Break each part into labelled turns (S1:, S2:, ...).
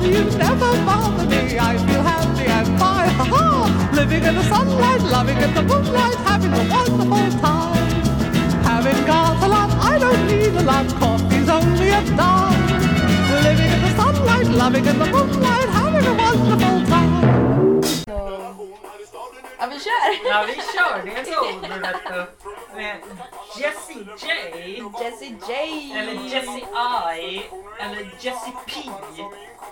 S1: dreams never bother me. I feel happy and fine. Ha ha! Living in the sunlight, loving in the moonlight, having a wonderful time. Having got a lot, I don't need a lot. Coffee's only a dime. Living in the sunlight, loving in the moonlight, having a wonderful time.
S2: Ja, vi kör!
S3: Ja, vi körde en solo vet du. Med Eh, Jessie J.
S2: Jessie J!
S3: Eller Jessie I. Eller Jessie P.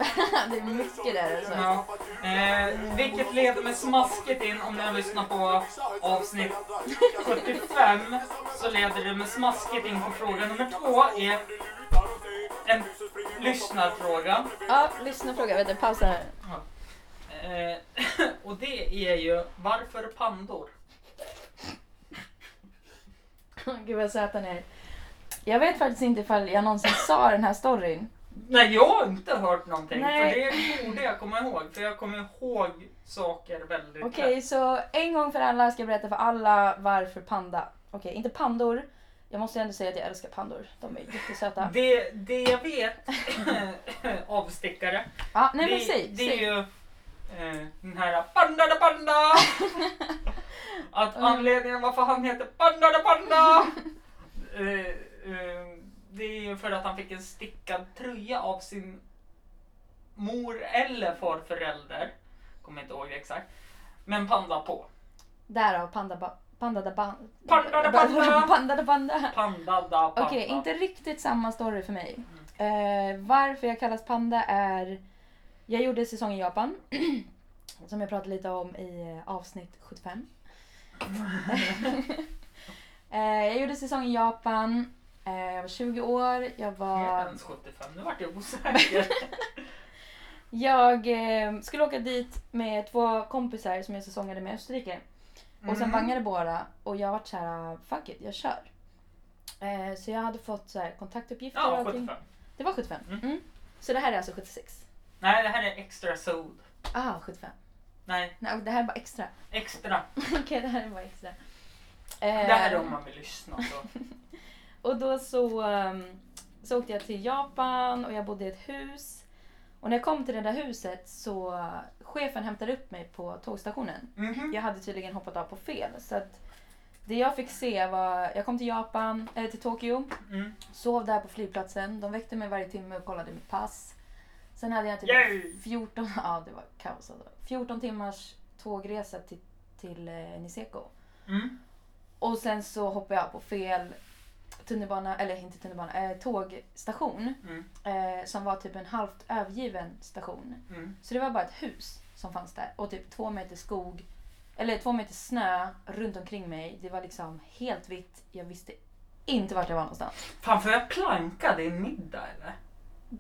S2: det är mycket där alltså.
S3: Ja. Eh, vilket leder mig smaskigt in om ni har lyssnat på avsnitt 75. Så leder det mig smaskigt in på fråga nummer två. är en lyssnarfråga.
S2: Ja, lyssna fråga. Vänta, pausa här.
S3: Eh, och det är ju varför pandor?
S2: Gud vad söt han är. Jag vet faktiskt inte ifall jag någonsin sa den här storyn.
S3: Nej, jag har inte hört någonting.
S2: Nej.
S3: För det borde jag komma ihåg. För jag kommer ihåg saker väldigt
S2: Okej, så en gång för alla ska jag berätta för alla varför panda. Okej, inte pandor. Jag måste ändå säga att jag älskar pandor. De är jättesöta.
S3: lätt. Det, det jag vet, avstickare,
S2: Ja, nej men
S3: det,
S2: säg.
S3: det är
S2: säg.
S3: ju eh, den här Panda da Panda! Att anledningen varför han heter Panda da Panda! eh, eh, det är ju för att han fick en stickad tröja av sin mor eller farförälder. Kommer inte ihåg det exakt. Men panda på.
S2: Därav panda ba- Panda da ban-
S3: Panda da panda.
S2: Panda da panda.
S3: Panda da panda.
S2: Okej, inte riktigt samma story för mig.
S3: Mm.
S2: Eh, varför jag kallas panda är... Jag gjorde säsong i Japan. som jag pratade lite om i eh, avsnitt 75. eh, jag gjorde säsong i Japan. Eh, jag var 20 år. Jag
S3: Mer
S2: var...
S3: än 75, nu vart jag osäker.
S2: Jag eh, skulle åka dit med två kompisar som jag säsongade med i Österrike. Och sen
S3: Mm.
S2: bangade båda och jag vart så här, fuck it, jag kör. Eh, så jag hade fått så här, kontaktuppgifter
S3: Ja,
S2: och allting.
S3: 75.
S2: Det var 75.
S3: Mm.
S2: Mm. Så det här är alltså 76.
S3: Nej, det här är extra sod.
S2: Ah, 75.
S3: Nej,
S2: Nej, och det här är bara extra.
S3: extra.
S2: Okej, det här är bara extra. Eh,
S3: Det här är om man vill lyssna. Så.
S2: Och då så, ehm, så åkte jag till Japan och jag bodde i ett hus. Och när jag kom till det där huset så eh, chefen hämtade upp mig på tågstationen.
S3: Mhm.
S2: jag hade tydligen hoppat av på fel. Så att det jag fick se var, jag kom till Japan, eller till Tokyo,
S3: Mm.
S2: sov där på flygplatsen. De väckte mig varje timme och kollade mitt pass. Sen hade jag typ
S3: Yay!
S2: 14, ja det var kaos alltså. 14 timmars tågresa till, till eh, Niseko.
S3: Mm.
S2: Och sen så hoppade jag av på fel tunnelbana, eller inte tunnelbana, eh, tågstation.
S3: Mm.
S2: Eh, som var typ en halvt övergiven station.
S3: Mm.
S2: Så det var bara ett hus som fanns där och typ två meter skog, eller två meter snö runt omkring mig. Det var liksom helt vitt. Jag visste inte vart jag var någonstans.
S3: Fan, får jag planka din middag eller?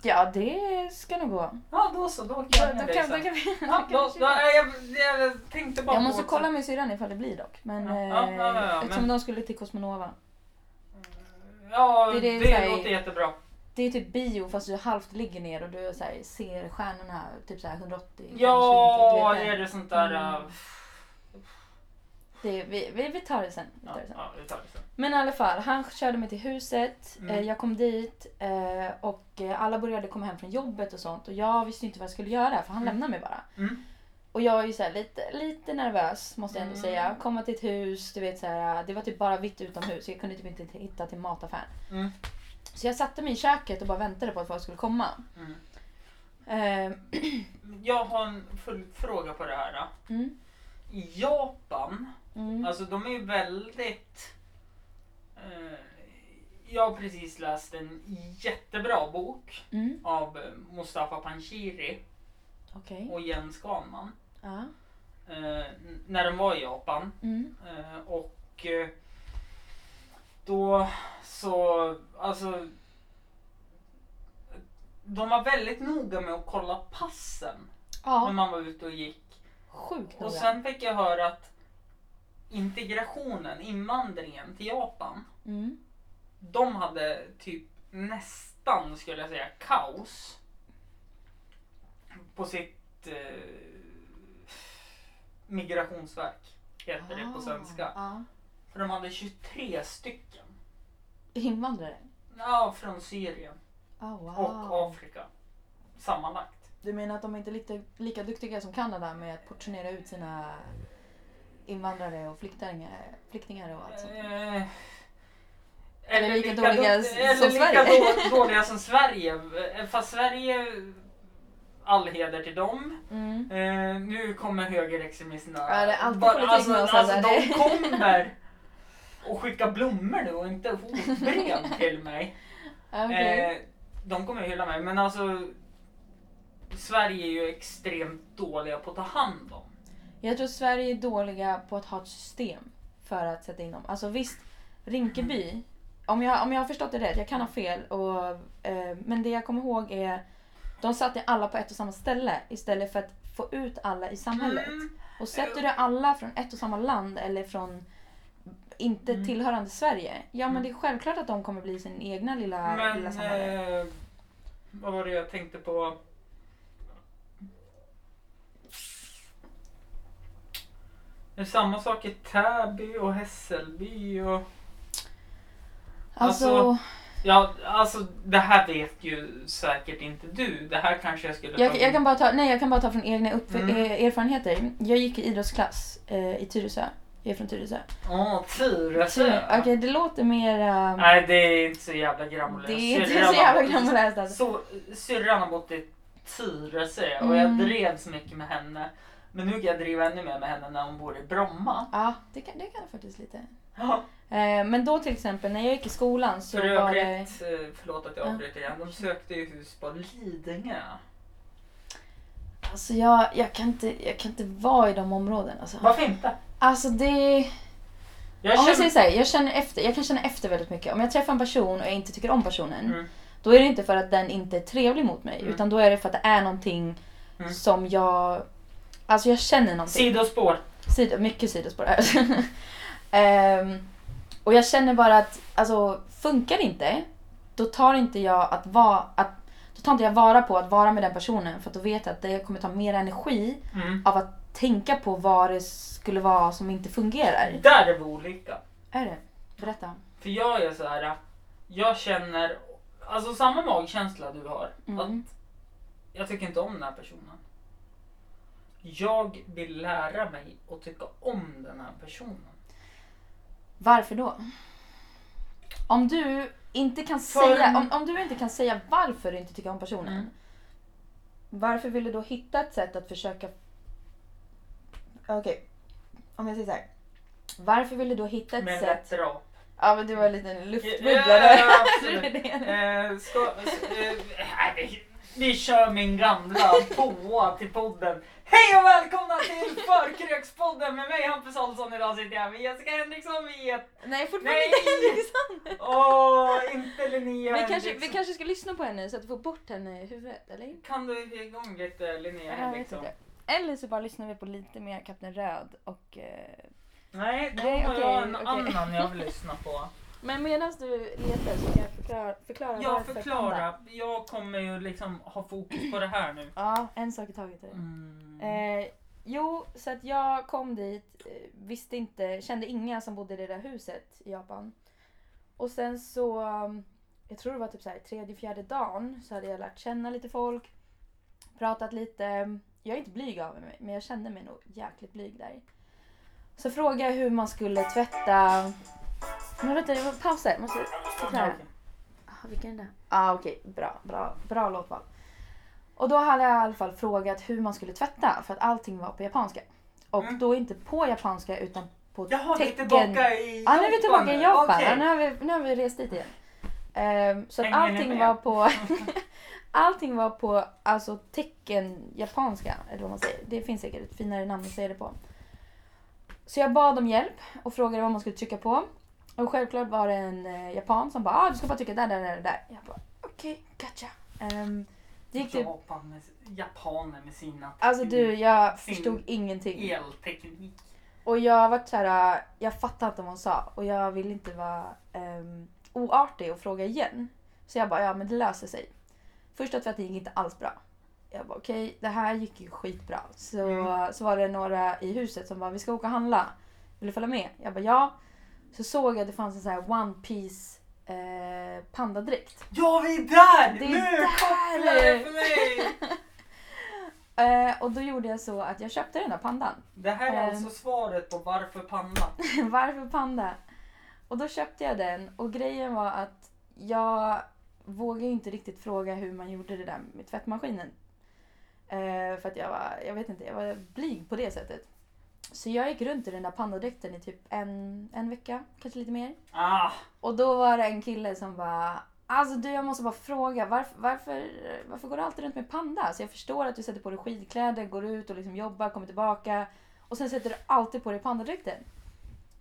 S2: Ja, det ska nog gå.
S3: Ja, då så. Då kan
S2: Ja,
S3: jag
S2: då
S3: det
S2: kan,
S3: sen.
S2: då kan vi, då
S3: Ja,
S2: kan
S3: då,
S2: vi
S3: då,
S2: köra.
S3: nej, jag, jag tänkte bara
S2: jag
S3: på
S2: måste
S3: så-
S2: kolla med syrran ifall det blir dock. Men
S3: Ja,
S2: eh,
S3: ja, ja, ja, men-
S2: eftersom de skulle till Cosmonova.
S3: Ja, det,
S2: Det- det är så här-
S3: låter jättebra.
S2: Det är typ bio fast du halvt ligger ner och du så här, ser stjärnorna typ så här 180.
S3: Ja,
S2: kanske inte,
S3: är
S2: du vet
S3: det sånt där...
S2: Mm.
S3: äh,
S2: det, vi, vi, vi tar det sen. Vi tar
S3: Ja,
S2: det sen.
S3: ja, vi tar det sen.
S2: Men i alla fall, han körde mig till huset.
S3: Mm.
S2: Eh, jag kom dit eh, och eh, alla började komma hem från jobbet och sånt. Och jag visste inte vad jag skulle göra för han
S3: Mm.
S2: lämnade mig bara.
S3: Mm.
S2: Och jag är ju så här, lite, lite nervös måste jag ändå
S3: Mm.
S2: säga. Komma till ett hus, du vet så här, det var typ bara vitt utomhus. Jag kunde typ inte t- hitta till mataffären.
S3: Mm.
S2: Så jag satte mig i köket och bara väntade på att folk skulle komma.
S3: Mm.
S2: Eh,
S3: Jag har en full fråga på det här. äh. Då.
S2: mm,
S3: I Japan,
S2: mm.
S3: alltså de är ju väldigt... Eh, jag har precis läst en jättebra bok
S2: Mm.
S3: av eh, Mustafa Panshiri
S2: Okej.
S3: och Jens Ganman.
S2: Ja.
S3: Eh, n- när de var i Japan.
S2: Mm.
S3: Eh, och eh, då så, alltså... De var väldigt noga med att kolla passen när
S2: Ja,
S3: man var ute och gick.
S2: sjukt
S3: Mm. Och
S2: noga.
S3: sen fick jag höra att integrationen, invandringen till Japan,
S2: Mm.
S3: de hade typ nästan, skulle jag säga, kaos. På sitt eh, migrationsverk, heter det på svenska.
S2: Ah, Ja.
S3: För de hade 23 stycken.
S2: Invandrare?
S3: Ja, från Syrien
S2: Oh, wow.
S3: och Afrika. Sammanlagt.
S2: Du menar att de inte är lika, lika duktiga som Kanada med att portionera ut sina invandrare och flyktingar, flyktingar och allt sånt?
S3: Eh,
S2: Eller lika dåliga
S3: dukt-
S2: s-
S3: eller
S2: som
S3: lika
S2: Sverige.
S3: då- dåliga som Sverige. Eh, Fast Sverige, all heder till dem.
S2: Mm.
S3: Eh, nu kommer högerextremisterna.
S2: Ja, det är alltid
S3: Bara-
S2: politik
S3: alltså,
S2: någonstans
S3: alltså,
S2: där.
S3: de kommer och skickar blommor nu och inte hotbrev till mig.
S2: Ja, okej.
S3: Eh, de kommer hylla mig men alltså Sverige är ju extremt dåliga på att ta hand om.
S2: Jag tror Sverige är dåliga på att ha ett system för att sätta in dem. Alltså visst, Rinkeby. Om jag, om jag har förstått det rätt, jag kan ha fel. Och, eh, men det jag kommer ihåg är de satte alla på ett och samma ställe istället för att få ut alla i samhället.
S3: Mm.
S2: Och sätter du alla från ett och samma land eller från inte
S3: Mm.
S2: tillhörande Sverige. Ja men det är självklart att de kommer bli sin egna lilla,
S3: Men
S2: lilla samhälle.
S3: eh, vad var det jag tänkte på? Det är samma sak i Täby och Hässelby och
S2: Alltså,
S3: alltså, Ja, alltså det här vet ju säkert inte du. Det här kanske jag skulle
S2: jag, jag, kan bara ta, nej, jag kan bara ta från egna upp,
S3: Typ, Mm.
S2: eh, erfarenheter. Jag gick i idrottsklass eh, i Tyresö. Jag är från Tyresö.
S3: Åh, tur alltså.
S2: Tyresö. Okej, det låter mer... eh,
S3: Nej, det är inte så jävla gramlöst.
S2: det är inte
S3: Syrran
S2: så jävla
S3: har-
S2: grammaläst alltså.
S3: Så syrran har bott i Tyresö och jag
S2: Mm.
S3: drevs mycket med henne. Men nu kan jag driva ännu mer med henne när hon bor i Bromma.
S2: Ja, det kan, det kan jag faktiskt lite.
S3: Ja,
S2: Eh, men då till exempel, när jag gick i skolan så
S3: för
S2: var det...
S3: övrigt, eh, förlåt att jag
S2: Ja.
S3: avbryter igen, de sökte ju hus på Lidingö.
S2: Alltså jag, jag, kan inte, jag kan inte vara i de områden alltså.
S3: Varför inte?
S2: Alltså det...
S3: Jag
S2: Om jag
S3: känner-
S2: säger så här, jag, känner efter, jag kan känna efter väldigt mycket. Om jag träffar en person och jag inte tycker om personen,
S3: Mm.
S2: då är det inte för att den inte är trevlig mot mig,
S3: Mm.
S2: utan då är det för att det är någonting
S3: Mm.
S2: som jag... Alltså jag känner någonting.
S3: Sidospår.
S2: Sido, mycket sidospår här. Ehm, och jag känner bara att, alltså funkar det inte, då tar inte jag att vara... Att, då tar inte jag vara på att vara med den personen, för att då vet jag att det kommer ta mer energi
S3: Mm.
S2: av att tänka på vad det skulle vara som inte fungerar.
S3: Där är vi olika.
S2: Är det? Berätta.
S3: För jag är så här. jag känner, alltså samma magkänsla du har.
S2: Mm.
S3: Att jag tycker inte om den här personen. Jag vill lära mig att tycka om den här personen.
S2: Varför då? Om du inte kan
S3: För-
S2: säga, om, om du inte kan säga varför du inte tycker om personen.
S3: Mm.
S2: Varför vill du då hitta ett sätt att försöka... Okej, om jag säger så här. Varför vill du då hitta ett
S3: Med
S2: sätt...
S3: rätt rap.
S2: Ja men du var en liten
S3: Ja,
S2: luftbubblare.
S3: ja, absolut. Eh, ska, eh, eh, vi- vi kör min gamla tvåa till podden. Hej och välkomna till Förkrökspodden med mig Hampus Olsson. Idag sitter jag med Jessica Henriksson. Vi är...
S2: Nej fortfarande
S3: Nej!
S2: inte Henriksson!
S3: Åh, inte Linnea
S2: Vi kanske, vi
S3: Henriksson.
S2: kanske ska lyssna på henne så att vi får bort henne i huvudet, eller?
S3: Kan du ge igång lite Linnea
S2: Jag vet
S3: Henriksson?
S2: inte. Eller så bara lyssnar vi på lite mer Kapten Röd och... eh,
S3: Nej, då
S2: Nej,
S3: har
S2: okej,
S3: jag en
S2: okej.
S3: annan jag vill lyssna på.
S2: Men medan du letar så kan jag förklara, förklara
S3: Jag
S2: varför Panda-
S3: förklarar. Jag kommer ju liksom ha fokus på det här nu.
S2: Ja, en sak i taget. är det.
S3: Mm.
S2: Eh, jo, så att jag kom dit, eh, visste inte, kände inga som bodde i det där huset i Japan. Och sen så, um, jag tror det var typ så här, tredje, fjärde dagen så hade jag lärt känna lite folk. Pratat lite. Jag är inte blyg av mig, men jag kände mig nog jäkligt blyg där. Så frågade jag hur man skulle tvätta... Men vänta, jag måste pausa här. jag Måste förklara.
S3: Okej.
S2: Ah, vilken är det? Ah, okej. Bra, bra, bra låtval. Och då hade jag i alla fall frågat hur man skulle tvätta för att allting var på japanska. Och
S3: Mm.
S2: då inte på japanska utan på
S3: Jaha, vi är
S2: tecken.
S3: tillbaka i
S2: Ja, nu är vi tillbaka i Japan.
S3: Okej.
S2: Ja, nu, har vi, nu har vi rest dit igen. Ehm, så att
S3: Hänger ni
S2: allting
S3: med?
S2: var på... allting var på alltså tecken japanska, eller vad man säger. Det finns säkert ett finare namn att säga det på. Så jag bad om hjälp och frågade vad man skulle trycka på. Och självklart var det en eh, japan som bara ah, du ska bara trycka där, där, där, där. Jag bara okej, gotcha. Ehm, det gick typ...
S3: Japan med, Japaner med sina
S2: Alltså du,
S3: Mm.
S2: jag
S3: Fin-
S2: förstod ingenting.
S3: elteknik.
S2: Och jag var så här, äh, jag fattade inte vad hon sa och jag ville inte vara ehm, oartig och fråga igen. Så jag bara, ja men det löser sig. Första tvätten gick inte alls bra. Jag bara okej, det här gick ju skitbra. Så,
S3: Mm.
S2: så var det några i huset som bara, vi ska åka och handla. Vill du följa med? Jag bara ja. Så såg jag att det fanns en sån här one piece eh, pandadräkt.
S3: Ja, vi är där!
S2: Det är
S3: nu
S2: där!
S3: kopplar det för mig!
S2: Eh, och då gjorde jag så att jag köpte den där pandan.
S3: Det här är
S2: Eh.
S3: alltså svaret på varför panda.
S2: Varför panda? Och då köpte jag den och grejen var att jag vågade ju inte riktigt fråga hur man gjorde det där med tvättmaskinen. Eh, för att jag var, jag vet inte, jag var blyg på det sättet. Så jag gick runt i den där pandadräkten i typ en, en vecka, kanske lite mer.
S3: Ah,
S2: Och då var det en kille som bara Alltså du jag måste bara fråga varför, varför, varför går du alltid runt med panda? Alltså, jag förstår att du sätter på dig skidkläder, går ut och liksom jobbar, kommer tillbaka och sen sätter du alltid på dig pandadräkten.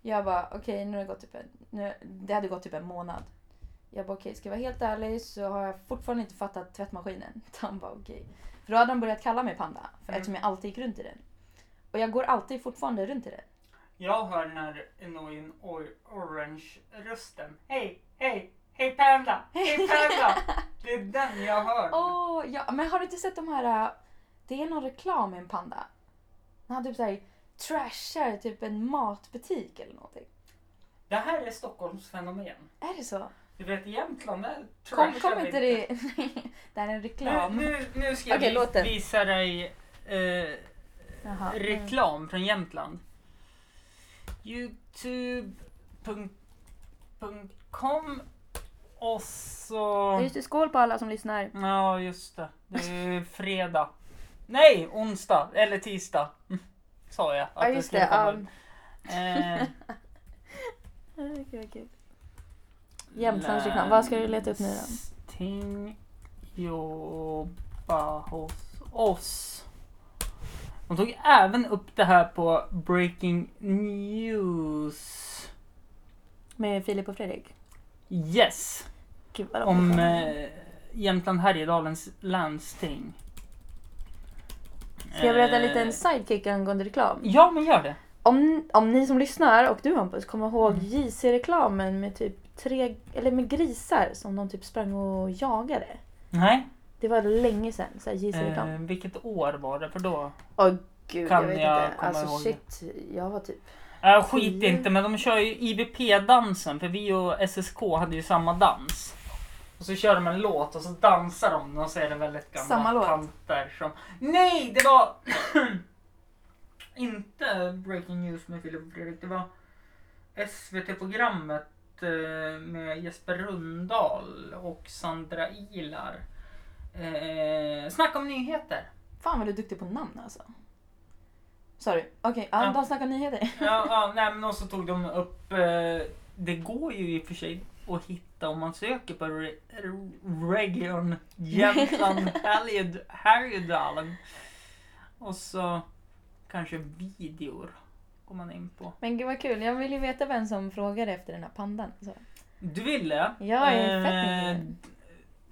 S2: Jag bara okej nu har det gått typ en, nu, det hade gått typ en månad. Jag bara okej ska jag vara helt ärlig så har jag fortfarande inte fattat tvättmaskinen. Han bara okej. För då hade de börjat kalla mig panda för
S3: Mm.
S2: eftersom jag alltid gick runt i den. Och jag går alltid fortfarande runt i den.
S3: jag hör den här annoying or- orange-rösten. Hej, hej, hej panda, hej panda. Det är den jag hör.
S2: Åh, ja, men har du inte sett de här... äh, Det är någon reklam med en panda. Han typ såhär trashar typ en matbutik eller någonting.
S3: Det här är Stockholms fenomen.
S2: Är det så?
S3: Du vet Jämtland, där
S2: Kom,
S3: trashar
S2: kom
S3: vi
S2: inte det... det här är en reklam.
S3: Nu, nu, nu ska
S2: Okej,
S3: jag
S2: låt den.
S3: vi- visa dig eh,
S2: Jaha. Mm.
S3: reklam från Jämtland. Youtube.com och så...
S2: Just det, skål på alla som lyssnar.
S3: Ja, just det. Det är ju fredag. Nej, onsdag eller tisdag. Mm, Sa jag.
S2: Ja,
S3: att
S2: just
S3: skulle
S2: det. um,
S3: komma
S2: Ja.
S3: ut. Eh,
S2: Okej, vad kul. Jämtlands reklam. Vad ska du leta upp nu då?
S3: Landsting jobba hos oss. De tog även upp det här på Breaking News.
S2: Med Filip och Fredrik.
S3: Yes!
S2: Gud vad de
S3: Om
S2: lyssnar.
S3: eh, Jämtland Härjedalens landsting.
S2: Ska jag berätta en
S3: Eh,
S2: liten sidekick angående reklam?
S3: Ja, men gör det.
S2: Om, om ni som lyssnar och du Hampus kommer ihåg
S3: Mm.
S2: JC-reklamen med typ tre, eller med grisar som de typ sprang och jagade.
S3: Nej.
S2: Det var länge sedan, såhär JC-reklam.
S3: Eh, vilket år var det? För då...
S2: Åh gud,
S3: kan
S2: jag vet
S3: jag
S2: inte.
S3: komma
S2: Alltså
S3: ihåg
S2: shit, jag var typ...
S3: Äh, skit
S2: Tio.
S3: inte, men de kör ju IBP-dansen för vi och SSK hade ju samma dans. Och så kör de en låt och så dansar de och så är det väldigt gamla
S2: Samma låt?
S3: tanter som... Nej, det var... inte Breaking News med Filip och Fredrik. Det var SVT-programmet eh, med Jesper Rundahl och Sandra Ilar. Eh, Snacka om nyheter.
S2: Fan vad du är duktig på namn alltså. Sa du? Okej, ja,
S3: Ja.
S2: de snackar nyheter.
S3: Ja, ja nej, men och så tog de upp... Eh, det går ju i och för sig att hitta om man söker på re, re- Region Jämtland Härjed- Härjedalen. Och så kanske videor går man in på.
S2: Men gud vad kul, jag vill ju veta vem som frågade efter den här pandan. Så.
S3: Du ville? Eh,
S2: Jag är fett nyfiken.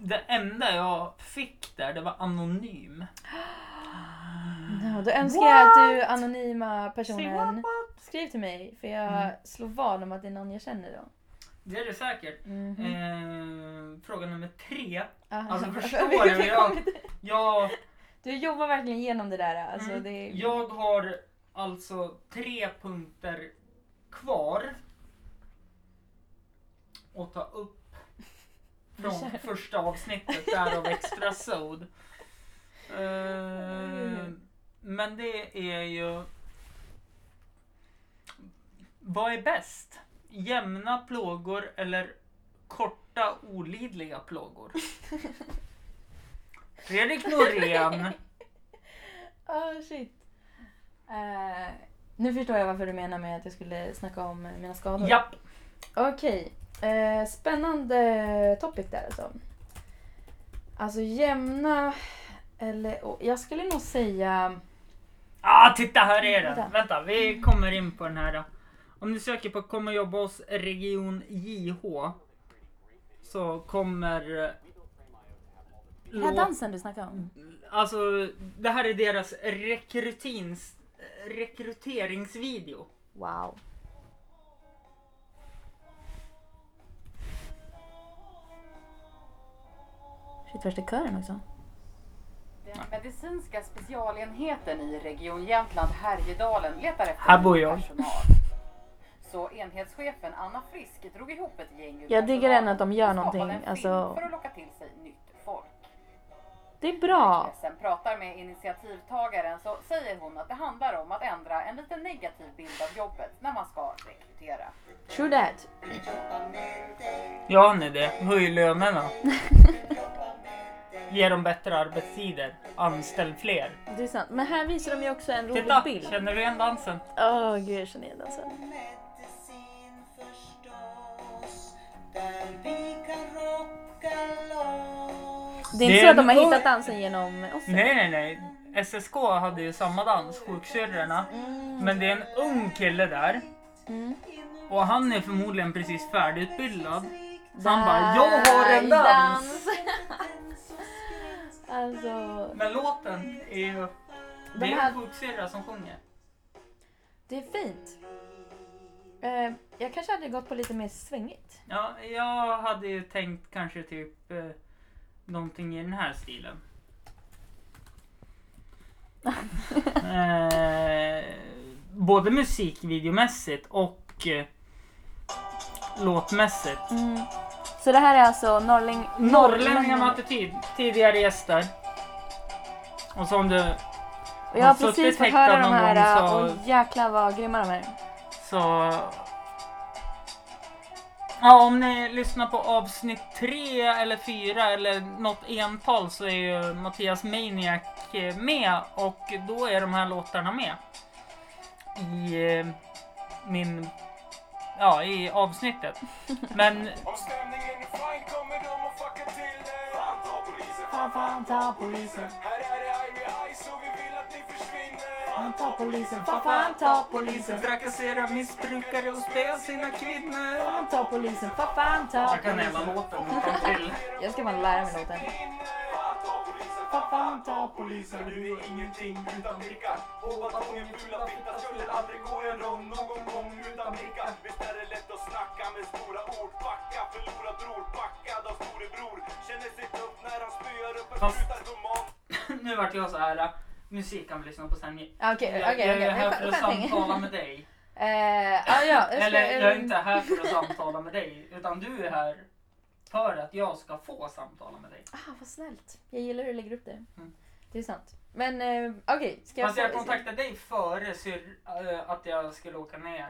S3: Det enda jag fick där, det var anonym.
S2: Ja, Då önskar jag att du anonyma
S3: Say what, Mm.
S2: personen
S3: what?
S2: skriv till mig för jag slår vad om att det är någon jag känner då.
S3: Det är det säkert.
S2: Mhm. Mm-hmm.
S3: Eh, fråga nummer tre.
S2: Ja.
S3: Alltså, förstår du hur jag- Jag
S2: Du jobbar verkligen igenom det där. Alltså,
S3: Mm.
S2: det är...
S3: Jag har alltså tre punkter kvar att ta upp från första avsnittet där av Extra Sod. Eh, men det är ju... Vad är bäst? Jämna plågor eller korta olidliga plågor? Fredrik Norén.
S2: Ah, shit. Eh, nu förstår jag varför du menar med att jag skulle snacka om eh, mina skador.
S3: Japp.
S2: Okej. Eh, spännande topic där alltså. Alltså jämna... Eller, och jag skulle nog säga...
S3: Ah, titta här är den!
S2: Vänta.
S3: Vänta, vi kommer in på den här då. Om ni söker på kom och jobba hos region JH så kommer... eh,
S2: Den här
S3: lå-
S2: dansen du snackar om?
S3: Alltså, det här är deras rekrytins, rekryteringsvideo.
S2: Wow. Shit, värsta kören också.
S4: Den medicinska specialenheten i Region Jämtland Härjedalen letar efter
S3: Här bor
S4: ny
S3: jag.
S4: personal. Så enhetschefen Anna Frisk drog ihop ett gäng ur
S2: Jag diggar
S4: personalen
S2: ändå att de gör
S4: och skapade
S2: någonting,
S4: en film
S2: alltså-
S4: för att locka till sig nytt folk.
S2: Det är bra.
S4: Expressen pratar med initiativtagaren så säger hon att det handlar om att ändra en lite negativ bild av jobbet när man ska rekrytera.
S2: True that.
S3: Ja, ni det. Höj lönerna. Ge dem bättre arbetstider. Anställ fler.
S2: Det är sant. Men här visar de ju också en rolig
S3: Titta!
S2: bild.
S3: Känner du igen dansen?
S2: Åh gud, jag känner igen den sen.
S5: medicin förstås där vi kan rocka loss
S2: Det är inte
S3: Det
S2: så
S3: är
S2: att de har
S3: en-
S2: hittat dansen genom oss.
S3: Nej, nej, nej. SSK hade ju samma dans, sjuksyrrorna. Men det är en ung kille där.
S2: Mm.
S3: Och han är förmodligen precis färdigutbildad. Så han bara, jag har en
S2: Där,
S3: dans!
S2: alltså,
S3: Men låten är ju... Det
S2: Den
S3: är
S2: här-
S3: en sjuksyrra som sjunger.
S2: det är fint. Eh, jag kanske hade gått på lite mer svängigt.
S3: Ja, jag hade ju tänkt kanske typ eh, någonting i den här stilen. eh, både musikvideomässigt och eh, låtmässigt.
S2: Så det här är alltså Norrling...
S3: Norrlänningar med attityd, tidigare gäster. Och så om du
S2: Och jag har
S3: Har suttit
S2: precis fått
S3: häktad
S2: höra de
S3: någon
S2: här
S3: gång,
S2: och
S3: så-
S2: jäklar vad grymma de är.
S3: Så... Ja, om ni lyssnar på avsnitt tre eller fyra eller något ental så är ju Mattias Maniac eh, med och då är de här låtarna med. I eh, min... Ja, i avsnittet. Men
S6: Om stämningen är fine kommer de att fucka till det. Fan ta polisen,
S1: Fan, fan, ta polisen.
S6: Här är det eye vid eye så vi vill att ni försvinner.
S1: Fan, ta polisen. Fan, fan, ta polisen.
S3: trakassera missbrukare och spöa sina kvinnor.
S1: Fan, ta polisen. Fan, fan, ta
S3: Jag kan
S1: polisen.
S3: även låten utan till.
S2: Jag ska bara lära mig låten.
S6: Fan ta polisen,
S1: Fan, fan, ta polisen.
S6: polisen. Du är ingenting utan prickar. Och batongen fula fitta skulle aldrig gå en rond någon gång utan prickar. Visst är det lätt att snacka med stora ord. Backa, förlorad bror. Backad av storebror. Känner sig tuff när han spöar upp en
S3: Fast-
S6: brutarroman.
S3: Nu vart jag så här. eh, Musik kan vi lyssna på sen.
S2: Ah, Okej, okej,
S3: Jag, jag
S2: okej.
S3: är här för
S2: Skär-
S3: att
S2: skärpning.
S3: samtala med dig.
S2: Eh, ja, ja, jag ska-
S3: Eller jag är inte här för att samtala med dig utan du är här för att jag ska få samtala med dig.
S2: Ah, vad snällt. Jag gillar hur du lägger upp det.
S3: Mm.
S2: Det är sant. Men eh, okej, ska jag
S3: Fast jag
S2: få-
S3: kontaktade dig före syr, eh, att jag skulle åka ner.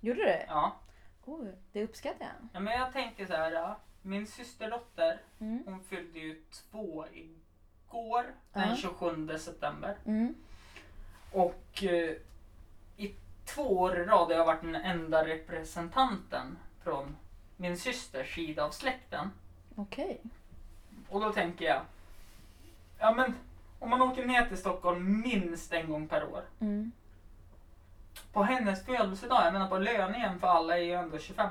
S2: Gjorde du det?
S3: Ja.
S2: Oh, det uppskattar jag.
S3: ja men jag tänker så här. ja. Min systerdotter
S2: Mm.
S3: hon fyllde ju två igår
S2: Ja.
S3: den 27 september.
S2: Mm.
S3: Och eh, i två år i rad har jag varit den enda representanten från min systers sida av släkten.
S2: Okej.
S3: Och då tänker jag, ja men om man åker ner till Stockholm minst en gång per år.
S2: Mm.
S3: På hennes födelsedag, jag menar på löningen för alla är ju ändå 25.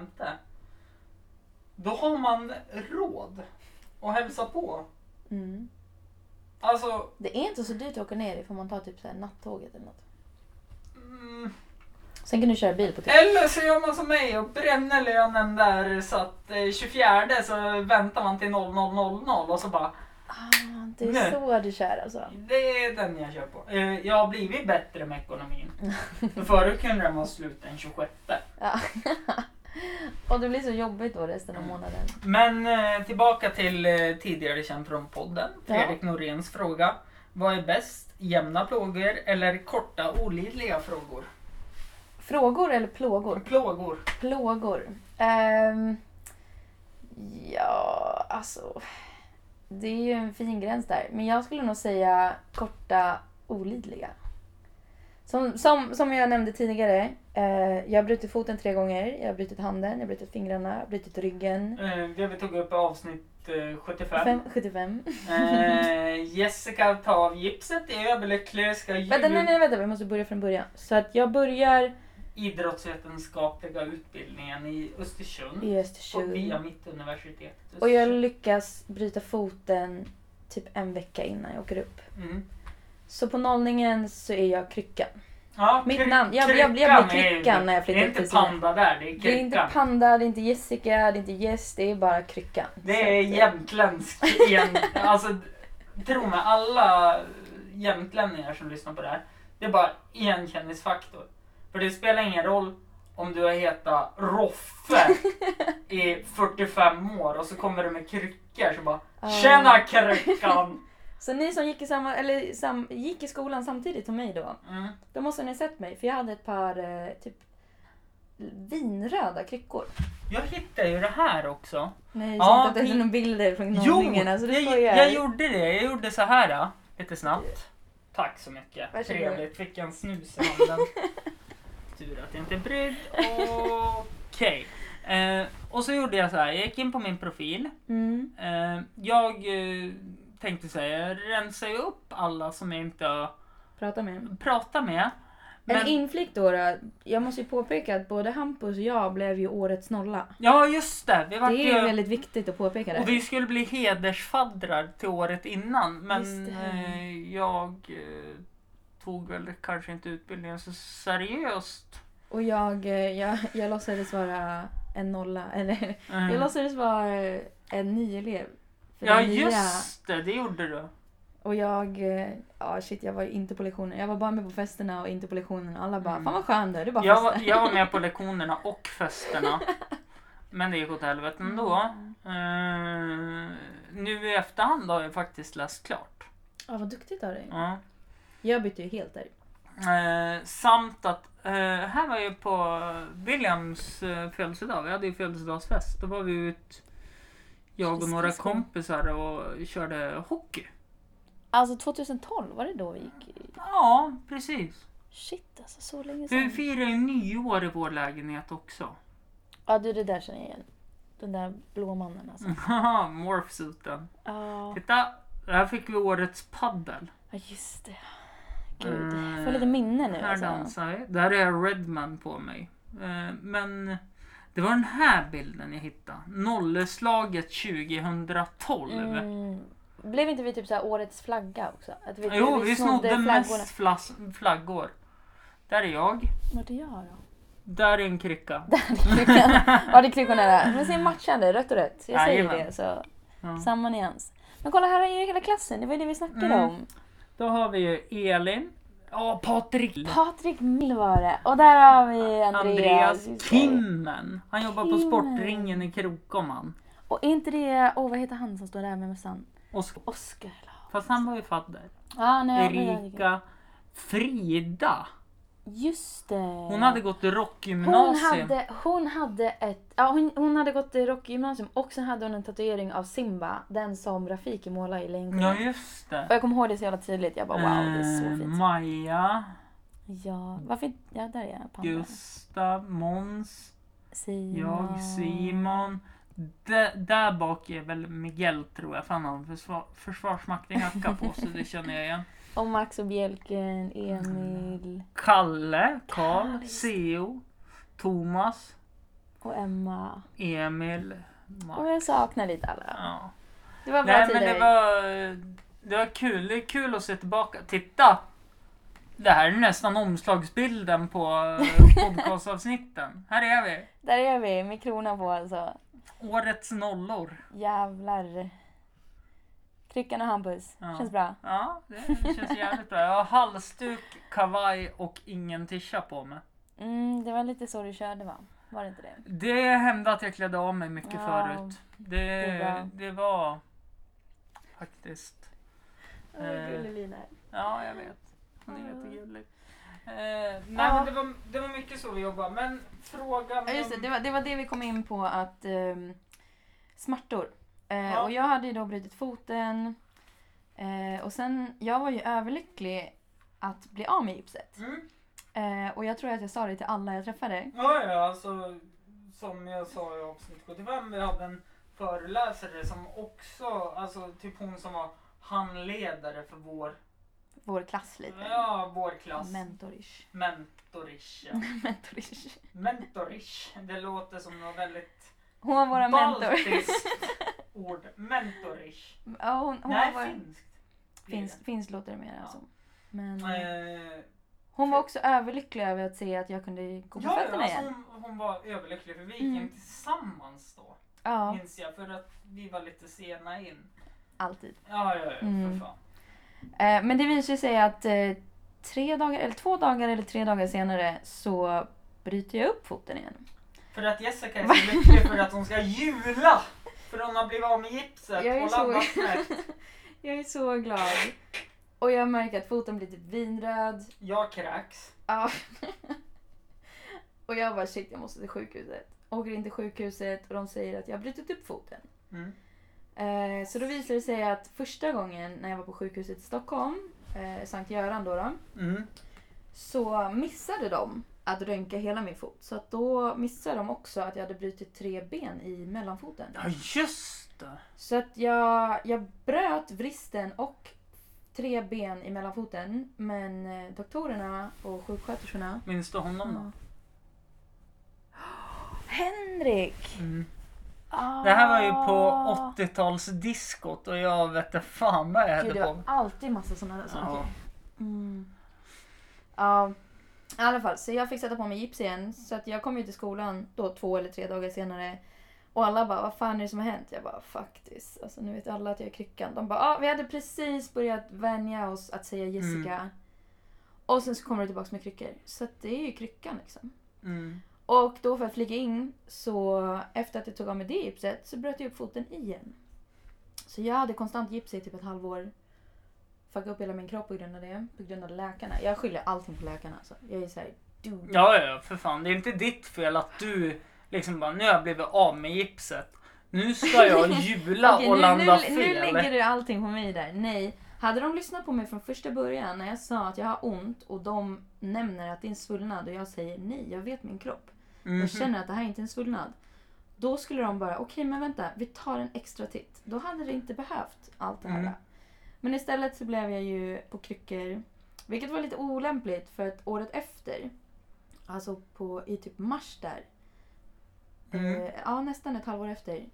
S3: Då har man råd att hälsa på.
S2: Mm.
S3: Alltså,
S2: Det är inte så dyrt att åka ner ifall man tar typ så här nattåget eller något.
S3: mm,
S2: Sen kan du köra bil på typ.
S3: eller så gör man som mig och bränner lönen där så att eh, 24 så väntar man till 00.00 och så bara,
S2: Ah, det är
S3: Nej.
S2: så du kör alltså.
S3: det är den jag kör på. Eh, Jag har blivit bättre med ekonomin. För Förut kunde den vara slut den 26.
S2: Ja. Och det blir så jobbigt då resten
S3: Mm.
S2: av månaden.
S3: Men eh, tillbaka till eh, tidigare känd från podden. Fredrik Noréns fråga. Vad är bäst? Jämna plågor eller korta olidliga frågor?
S2: Frågor eller plågor?
S3: Plågor.
S2: Plågor. Ehm, ja, alltså. Det är ju en fin gräns där. Men jag skulle nog säga korta, olidliga. Som, som, som jag nämnde tidigare. Eh, jag har brutit foten tre gånger. Jag har brutit handen, jag har brutit fingrarna, jag har brutit ryggen.
S3: Eh, det vi tog upp i avsnitt eh, 75.
S2: Fem, 75.
S3: Eh, Jessica tar av gipset i överlyckliga
S2: Vänta, nej, nej, vänta. Vi måste börja från början. Så att jag börjar
S3: idrottsvetenskapliga utbildningen i Östersund.
S2: i
S3: På, via
S2: Östersund.
S3: mitt universitet.
S2: Och jag lyckas bryta foten typ en vecka innan jag åker upp.
S3: Mm.
S2: Så på nollningen så är jag kryckan.
S3: Ja,
S2: Mitt
S3: kry-
S2: namn. Jag- jag- jag blir
S3: kryckan är-
S2: kryckan när jag flyttar
S3: Det är
S2: till
S3: inte
S2: Sverige.
S3: panda där, det är
S2: Det är inte
S3: kryckan.
S2: Panda, det är inte Jessica, det är inte Jess, det är bara kryckan. Så
S3: Det är
S2: att, eh,
S3: jämtländsk. Jämt, alltså, tro mig, alla jämtlänningar som lyssnar på det här, det är bara igenkänningsfaktor. För det spelar ingen roll om du har hetat Roffe i 45 år och så kommer du med kryckor så bara
S2: Ja.
S3: Tjena kryckan!
S2: Så ni som gick i, samma, eller, sam, gick i skolan samtidigt som mig då,
S3: Mm.
S2: då måste ni ha sett mig för jag hade ett par eh, typ vinröda kryckor.
S3: Jag hittade ju det här också.
S2: Nej, jag
S3: Ja,
S2: kände att jag hade
S3: ni-
S2: några bilder från
S3: Jo,
S2: nollningarna så det
S3: jag,
S2: alltså, skojar.
S3: jag gjorde det. Jag gjorde så här äh, lite snabbt. Tack så mycket.
S2: Varsågod.
S3: Trevligt. Fick en snus i handen. Tur att jag inte är brydd. Okej. Eh, och så gjorde jag så här. Jag gick in på min profil.
S2: Mm.
S3: Eh, jag eh, tänkte så här. Jag rensar ju upp alla som jag inte har
S2: Prata med dem.
S3: pratat med.
S2: En inflick då, då. Jag måste ju påpeka att både Hampus och jag blev ju årets nolla.
S3: Ja just det, vi var
S2: Det är ju
S3: ju...
S2: väldigt viktigt att påpeka
S3: Och
S2: det.
S3: vi skulle bli hedersfaddrar till året innan men
S2: Just det.
S3: eh, jag eh, tog väl kanske inte utbildningen så seriöst.
S2: Och jag, eh, jag, jag låtsades vara en nolla, eller
S3: Eh,
S2: jag låtsades
S7: eh,
S2: vara en nyelev. För
S3: ja
S2: den nya-
S3: just det, det gjorde du.
S2: Och jag, eh, ja shit jag var ju inte på lektionen. Jag var bara med på festerna och inte på lektionerna. Alla bara, fan vad skön du är, du bara
S3: Mm. Jag var,
S2: festar.
S3: jag var med på lektionerna och festerna. Men det gick åt helvete ändå.
S2: Mm.
S3: Eh, nu i efterhand har jag faktiskt läst klart.
S2: Ja vad duktigt av dig.
S3: Ja.
S2: Jag bytte ju helt där.
S3: Eh, samt att eh, här var jag på Williams eh, födelsedag. Vi hade ju födelsedagsfest. Då var vi ut, jag och några kompisar och körde hockey.
S7: Alltså 2012, var det då vi gick? i-
S3: Ja, precis.
S7: Shit alltså, så länge
S3: Vi
S7: sedan.
S3: firar ju nyår i vår lägenhet också.
S7: Ja du, det där känner jag igen. Den där blå mannen
S3: Mm.
S7: alltså.
S3: Haha, Morphsuiten.
S7: Ja,
S3: Titta, här fick vi årets paddel.
S7: Ja, just det. Gud, jag får
S3: Eh,
S7: lite minne nu
S3: Här
S7: alltså.
S3: dansar vi. Där är jag Redman på mig. Eh, Men det var den här bilden jag hittade. Nolleslaget 2012.
S7: Mm. Blev inte vi typ så här årets flagga också? Att vi,
S3: Jo, vi snodde
S7: flaggorna.
S3: mest flass- flaggor. Där är jag.
S7: Vart är jag då?
S3: Där är en krycka.
S7: Ja, det är kryckorna där. Men se matchande, rött och rött. Jag säger
S3: Jajamän.
S7: det så.
S3: Ja.
S7: Samma nyans. Men kolla här är ju hela klassen, det var ju det vi snackade
S3: Mm.
S7: om.
S3: Då har vi ju Elin. Ja, Patrik.
S7: Patrik Mill var det. Och där har vi Andreas.
S3: Andreas Kimmen. Han jobbar på
S7: Kimmen.
S3: Sportringen i Krokoman.
S7: Och inte det, åh vad heter han som står där med mössan?
S3: Och så-
S7: Oskar eller?
S3: Fast han var ju fadder.
S7: Ah, nej, jag vet inte.
S3: Erika Frida.
S7: Just det.
S3: Hon hade gått i
S7: hon
S3: rockgymnasium.
S7: hade, hon hade ett, ja, hon, hon hade gått i rockgymnasium och sen hade hon en tatuering av Simba, den som Rafiki målade i
S3: Ja,
S7: Lejonkungen.
S3: just det.
S7: och jag kommer ihåg det så jävla tydligt, jag bara wow det är
S3: Eh,
S7: så fint.
S3: Maja,
S7: Ja, varför inte? Ja, där är jag. Panda.
S3: Gustav, Måns.
S7: Simon.
S3: Jag, Simon. D- där bak är väl Miguel tror jag, för han har en försvar- försvarsmakten jacka på sig, det känner jag igen.
S7: Och Max och Bjelken, Emil
S3: Kalle, Karl, Seo, Thomas,
S7: och Emma.
S3: Emil,
S7: Och
S3: Mark.
S7: jag saknar lite alla.
S3: Ja.
S7: Det var bra
S3: Nej men
S7: tider.
S3: det var, det var kul, det är kul att se tillbaka. Titta! Det här är nästan omslagsbilden på eh, podcastavsnitten. Här är vi!
S7: Där är vi med krona på alltså.
S3: Årets nollor.
S7: Jävlar. Kryckan och Hampus.
S3: Ja.
S7: Känns bra.
S3: Ja, det känns jävligt bra. Jag har halsduk, kavaj och ingen tisha på mig.
S7: Mm, det var lite så du körde va? Var det inte det?
S3: Det hände att jag klädde av mig mycket
S7: Ja,
S3: förut. Det,
S7: är bra.
S3: det, var faktiskt...
S2: Åh, vad
S3: Eh.
S2: gullig Lina är.
S3: Ja, jag vet. Hon är jättegullig. Eh, nej,
S2: Ah. Ja.
S3: men det, var, det var mycket så vi jobbade. Men frågan...
S2: Ja just det,
S3: om-
S2: det var, det var det vi kom in på att ehm, smärtor. Eh,
S3: Ja.
S2: Och jag hade ju då brutit foten. Eh, och sen, jag var ju överlycklig att bli av med gipset.
S3: Mm.
S2: Eh, och jag tror att jag sa det till alla jag träffade.
S3: Ja, ja, alltså som jag sa i avsnitt 75, vi hade en föreläsare som också, alltså typ hon som var handledare för vår,
S2: Vår klass lite.
S3: ja, vår klass.
S2: Mentorish.
S3: Mentorish. ja.
S2: Mentorish.
S3: Mentorish. Det låter som något väldigt
S2: Hon var våra mentor.
S3: baltiskt ord. Mentorish.
S2: Ja, hon, hon
S3: Nej,
S2: var vår...
S3: finskt. blir det.
S2: Finns, finns låter det mer
S3: Ja.
S2: som. Men Mm.
S3: Eh,
S2: hon var också överlycklig över att se att jag kunde gå på
S3: ja, ja,
S2: fötterna
S3: alltså
S2: igen.
S3: hon, hon var överlycklig för vi gick
S2: Mm.
S3: in tillsammans då.
S2: Ja,
S3: Minns jag. För att vi var lite sena in.
S2: alltid.
S3: Ja, ja, ja.
S2: Mm.
S3: För fan.
S2: Eh, men det visar sig att eh, tre dagar, eller två dagar eller tre dagar senare så bryter jag upp foten igen.
S3: För att Jessica är så lycklig för att hon ska jula! För hon har blivit av med gipset
S2: Jag är
S3: och
S2: så-
S3: landat snett.
S2: Jag är så glad. Och jag märker att foten blir typ vinröd.
S3: Jag kräks.
S2: Ja. och jag bara shit, jag måste till sjukhuset. Åker in till sjukhuset och de säger att jag har brutit upp foten.
S3: Mm.
S2: Eh, så då visar det sig att första gången när jag var på sjukhuset i Stockholm, eh, Sankt Göran då, då
S3: Mm.
S2: så missade de att röntga hela min fot. Så att då missade de också att jag hade brutit tre ben i mellanfoten.
S3: Ja, just det.
S2: Så att jag, jag bröt vristen och tre ben i mellanfoten. Men eh, doktorerna och sjuksköterskorna...
S3: Minns du honom då?
S2: Henrik!
S3: Mm. Det här var ju på 80-talsdiskot och jag vet inte fan vad jag
S2: Gud,
S3: hade
S2: det
S3: på
S2: var
S3: mig.
S2: alltid massa sådana saker.
S3: Ja.
S2: Mm. Ja, i alla fall. Så jag fick sätta på mig gips igen. Så att jag kom ju till skolan då två eller tre dagar senare. Och alla bara, vad fan är det som har hänt? Jag bara, faktiskt. Alltså nu vet alla att jag är kryckan. De bara, ah, vi hade precis börjat vänja oss att säga Jessica. Och sen så kommer du tillbaka med kryckor. Så att det är ju kryckan liksom.
S3: Mm.
S2: Och då för att flika in, så efter att jag tog av mig det gipset så bröt jag upp foten igen. Så jag hade konstant gips i typ ett halvår. Fuckade upp hela min kropp på grund av det. På grund av läkarna. Jag skyller allting på läkarna alltså. Jag är såhär, dude.
S3: Ja, ja, för fan. Det är inte ditt fel att du liksom bara, nu har jag blivit av med gipset. Nu ska jag jula
S2: Okej,
S3: och
S2: nu,
S3: landa
S2: nu,
S3: fel.
S2: nu lägger du allting på mig där. Nej. Hade de lyssnat på mig från första början när jag sa att jag har ont och de nämner att det är en svullnad och jag säger nej, jag vet min kropp.
S3: Mhm.
S2: Jag känner att det här är inte en svullnad. Då skulle de bara, okej men vänta, vi tar en extra titt. Då hade det inte behövt allt det här.
S3: Mm.
S2: Men istället så blev jag ju på kryckor. Vilket var lite olämpligt för att året efter, alltså på, i typ mars där.
S3: Mm.
S2: Eh, ja, nästan ett halvår efter.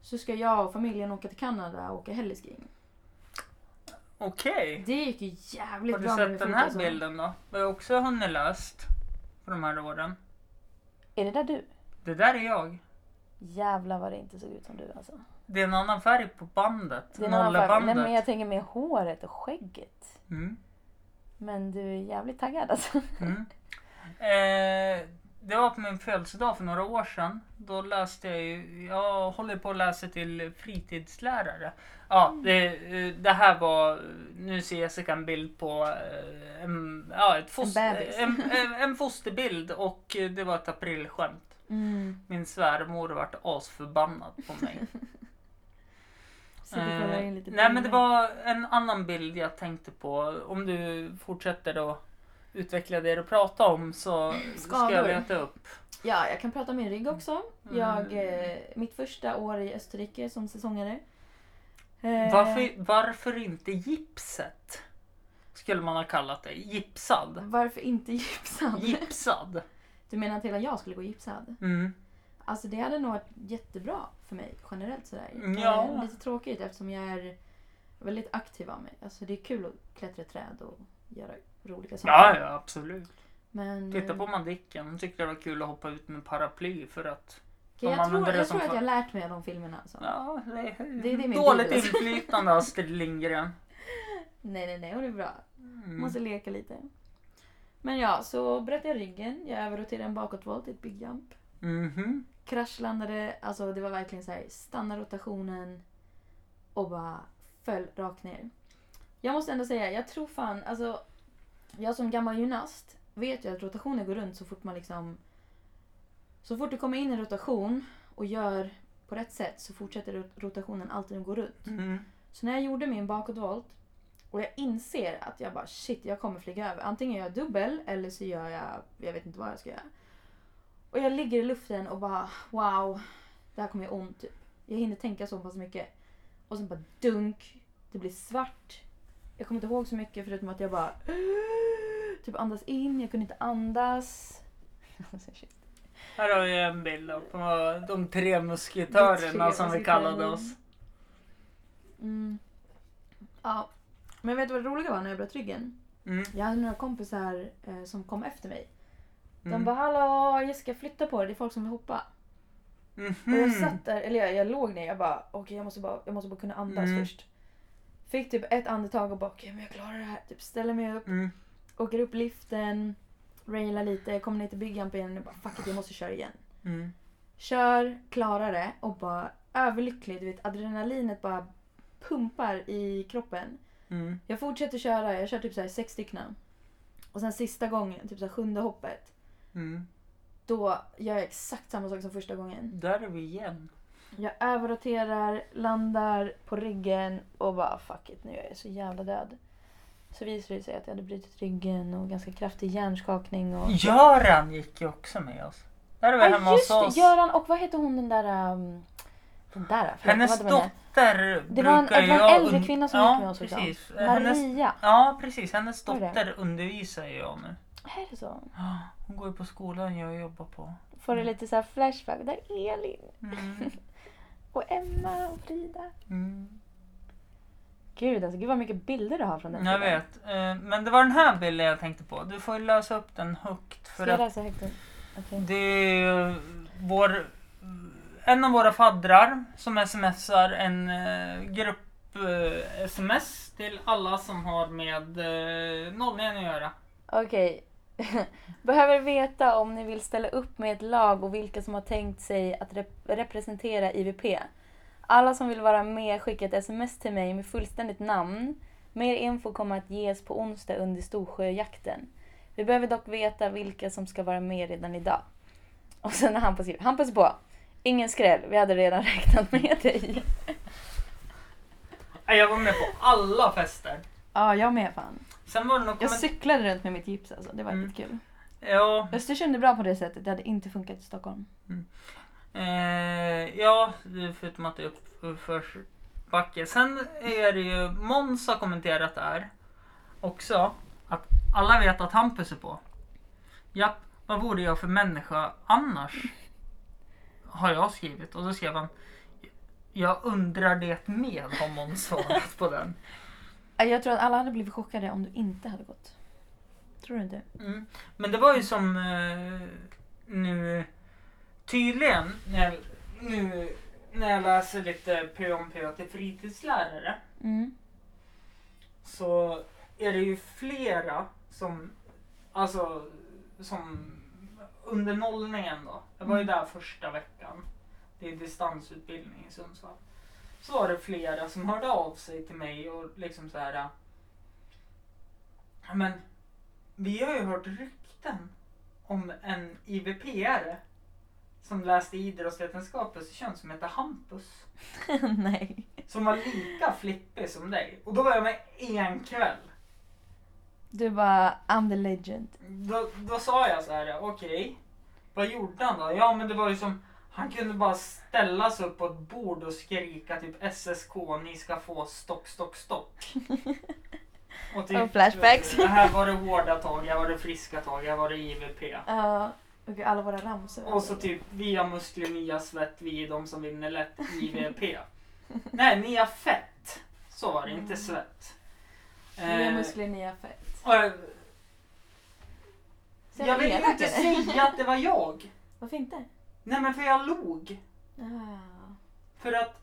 S2: Så ska jag och familjen åka till Kanada och åka hellesking.
S3: Okej.
S2: Det gick ju jävligt
S3: Har du
S2: bra med min
S3: sett den
S2: fot,
S3: här
S2: alltså.
S3: bilden då? Vad jag också hunnit löst på de här åren.
S7: Är det där du?
S3: Det där är jag.
S7: Jävlar vad det inte såg ut som du alltså.
S3: Det är en annan färg på bandet.
S7: Det är en annan färg. Nej,
S3: Nollabandet.
S7: men jag tänker med håret och skägget.
S3: mm.
S7: Men du är jävligt taggad alltså.
S3: Mm. Eh, det var på min födelsedag för några år sedan. Då läste jag ju, jag håller på att läsa till fritidslärare. Ja, det, eh, det här var, nu ser Jessica en bild på eh, en, ja, ett foster,
S2: En bebis.
S3: en, en, en fosterbild och eh, det var ett aprilskämt.
S2: Mm.
S3: Min svärmor vart asförbannad på mig.
S2: Så du kollar in lite
S3: Eh, nej men det
S2: bilder.
S3: var en annan bild jag tänkte på. Om du fortsätter att utveckla det du pratar om så ska jag
S2: Skador.
S3: leta upp.
S2: Ja, jag kan prata om min rygg också.
S3: Mm.
S2: Jag, eh, mitt första år i Österrike som säsongare. Eh,
S3: Varför, varför inte gipset? Skulle man ha kallat det. Gipsad.
S2: varför inte gipsad?
S3: Gipsad.
S2: Du menar att hela jag skulle gå gipsad?
S3: Mm.
S2: Alltså det hade nog varit jättebra för mig generellt sådär.
S3: Ja.
S2: Eh, lite tråkigt eftersom jag är väldigt aktiv av mig. Alltså det är kul att klättra i träd och göra roliga saker.
S3: Ja, ja absolut.
S2: Men,
S3: Titta på
S2: eh,
S3: Madicken. Hon tyckte det var kul att hoppa ut med paraply för att...
S2: okej,
S3: de
S2: jag tror,
S3: använder det
S2: jag
S3: som
S2: tror att
S3: för-
S2: jag har lärt mig av de filmerna. Alltså.
S3: Ja, det är,
S2: Det är det min
S3: dåligt
S2: bibel.
S3: inflytande Astrid Lindgren.
S2: Nej, nej, nej, hon är bra.
S3: Mm.
S2: Måste leka lite. Men ja, så bröt jag ryggen. Jag överroterade en bakåtvolt i ett big jump.
S3: Mhm.
S2: kraschlandade, alltså det var verkligen så här, stanna rotationen och bara föll rakt ner. Jag måste ändå säga, jag tror fan, alltså jag som gammal gymnast vet ju att rotationer går runt så fort man liksom så fort du kommer in i en rotation och gör på rätt sätt så fortsätter rot- rotationen alltid att gå runt.
S3: Mm.
S2: Så när jag gjorde min bakåtvolt och jag inser att jag bara shit, jag kommer flyga över. Antingen gör jag dubbel eller så gör jag, jag vet inte vad jag ska göra. Och jag ligger i luften och bara wow, det här kommer göra ont typ. Jag hinner tänka så pass mycket. Och sen bara dunk, det blir svart. Jag kommer inte ihåg så mycket förutom att jag bara typ andas in, jag kunde inte andas.
S7: Alltså, shit.
S3: Här har vi en bild då på de tre musketörerna
S2: De tre
S3: som vi kallade
S2: musketörerna.
S3: oss.
S2: Mm. Ja. Men vet du vad det roliga var när jag bröt ryggen?
S3: Mm.
S2: Jag hade några kompisar eh, som kom efter mig. De
S3: Mm.
S2: bara hallå Jessica flytta på dig, det är folk som vill hoppa. Och jag
S3: Mhm.
S2: satt där, eller jag, jag låg ner, jag bara okej jag, måste bara, jag måste bara kunna andas
S3: Mm.
S2: först. Fick typ ett andetag och bara okej men jag klarar det här. Typ ställer mig upp,
S3: Mm.
S2: åker upp liften, railar lite, kommer ner till byggan igen och bara fuck it jag måste köra igen.
S3: Mm.
S2: Kör, klarar det och bara överlycklig. Du vet adrenalinet bara pumpar i kroppen.
S3: Mm.
S2: Jag fortsätter köra, jag kör typ så här sex stycken. Och sen sista gången, typ så här sjunde hoppet,
S3: Mm.
S2: då gör jag exakt samma sak som första gången.
S3: Där är vi igen.
S2: Jag överroterar, landar på ryggen och bara fuck it, nu är jag så jävla död. Så visar det sig att jag hade brutit ryggen och ganska kraftig hjärnskakning och...
S3: Göran gick ju också med oss. Där var vi hemma
S2: Ja
S3: hos
S2: just
S3: oss.
S2: det, Göran och vad heter hon den där... Um, den där, förlåt,
S3: Hennes
S2: vad var det med henne?
S3: dotter
S2: Det
S3: brukar
S2: var en- det var en
S3: jag
S2: äldre
S3: und-
S2: kvinna som
S3: ja,
S2: gick med oss också.
S3: precis. Hennes,
S2: Maria,
S3: ja precis, hennes
S2: Var det?
S3: dotter undervisar ju jag nu.
S2: är det så?
S3: Ja, Hon går ju på skolan jag jobbar på.
S2: Får du lite så här flashback, där är Elin
S3: Mm.
S2: och Emma och Frida.
S3: Mm.
S2: Gud alltså, gud vad mycket bilder du har från den
S3: Jag vet. Eh, Men det var den här bilden jag tänkte på. Du får ju lösa upp den högt. För
S2: Ska jag
S3: att
S2: läsa högt? nu? Okej.
S3: det är eh, vår, en av våra faddrar som smsar en eh, grupp eh, sms till alla som har med eh, 09 att göra.
S2: Okej. Behöver veta om ni vill ställa upp med ett lag och vilka som har tänkt sig att rep- representera IVP. Alla som vill vara med skickar ett sms till mig med fullständigt namn. Mer info kommer att ges på onsdag under Storsjöjakten. Vi behöver dock veta vilka som ska vara med redan idag. Och sen har Hampus skrivit. Hampus på! Ingen skräll, vi hade redan räknat med dig.
S3: Nej, Jag var med på alla fester.
S2: Ja, jag med fan.
S3: Sen var det nog... komment-
S2: cyklade runt med mitt gips alltså, det var
S3: Mm.
S2: riktigt kul.
S3: ja,
S2: Östersund är bra på det sättet, det hade inte funkat i Stockholm.
S3: eh, ja, det är förutom att det är uppförsbacke. Sen är det ju... Måns har kommenterat där också. Att alla vet att Hampus är på. Japp, vad vore jag för människa annars? Har jag skrivit. Och då skrev han... Jag undrar det med, har Måns svarat på den.
S2: Ja, Äh, Jag tror att alla hade blivit chockade om du inte hade gått. Tror du inte?
S3: Mm. Men det var ju som eh, nu tydligen när jag, nu när jag läser lite P om P till fritidslärare
S2: Mm.
S3: så är det ju flera som alltså som under nollningen då. Jag var ju där första veckan. Det är distansutbildning i Sundsvall. Så var det flera som hörde av sig till mig och liksom så här. "Ja, Men vi har ju hört rykten om en IVP-are som läste idrottsvetenskapligt kön som heter Hampus.
S2: Nej.
S3: Som var lika flippig som dig. Och då var jag med en kväll.
S2: Du bara, I'm the legend.
S3: Då, då sa jag så här, okej. vad gjorde han då? Ja men det var ju som, han kunde bara ställa sig upp på ett bord och skrika typ SSK, ni ska få stock, stock, stock. Och, typ,
S2: Och flashbacks.
S3: Här var det hårda tag, här var det friska tag, här var det IVP.
S2: Ja. och alla våra ramsor.
S3: Och så typ via muskler, via svett, vi är de som vinner lätt IVP. Nej, nia fett. Så var det, inte svett.
S2: Nya
S3: Eh,
S2: Mm. muskler, nya fett.
S3: och jag-
S2: Så
S3: jag vill
S2: elak
S3: inte
S2: är det.
S3: säga att det var jag.
S2: Varför inte?
S3: Nej men för jag log.
S2: Ah.
S3: För att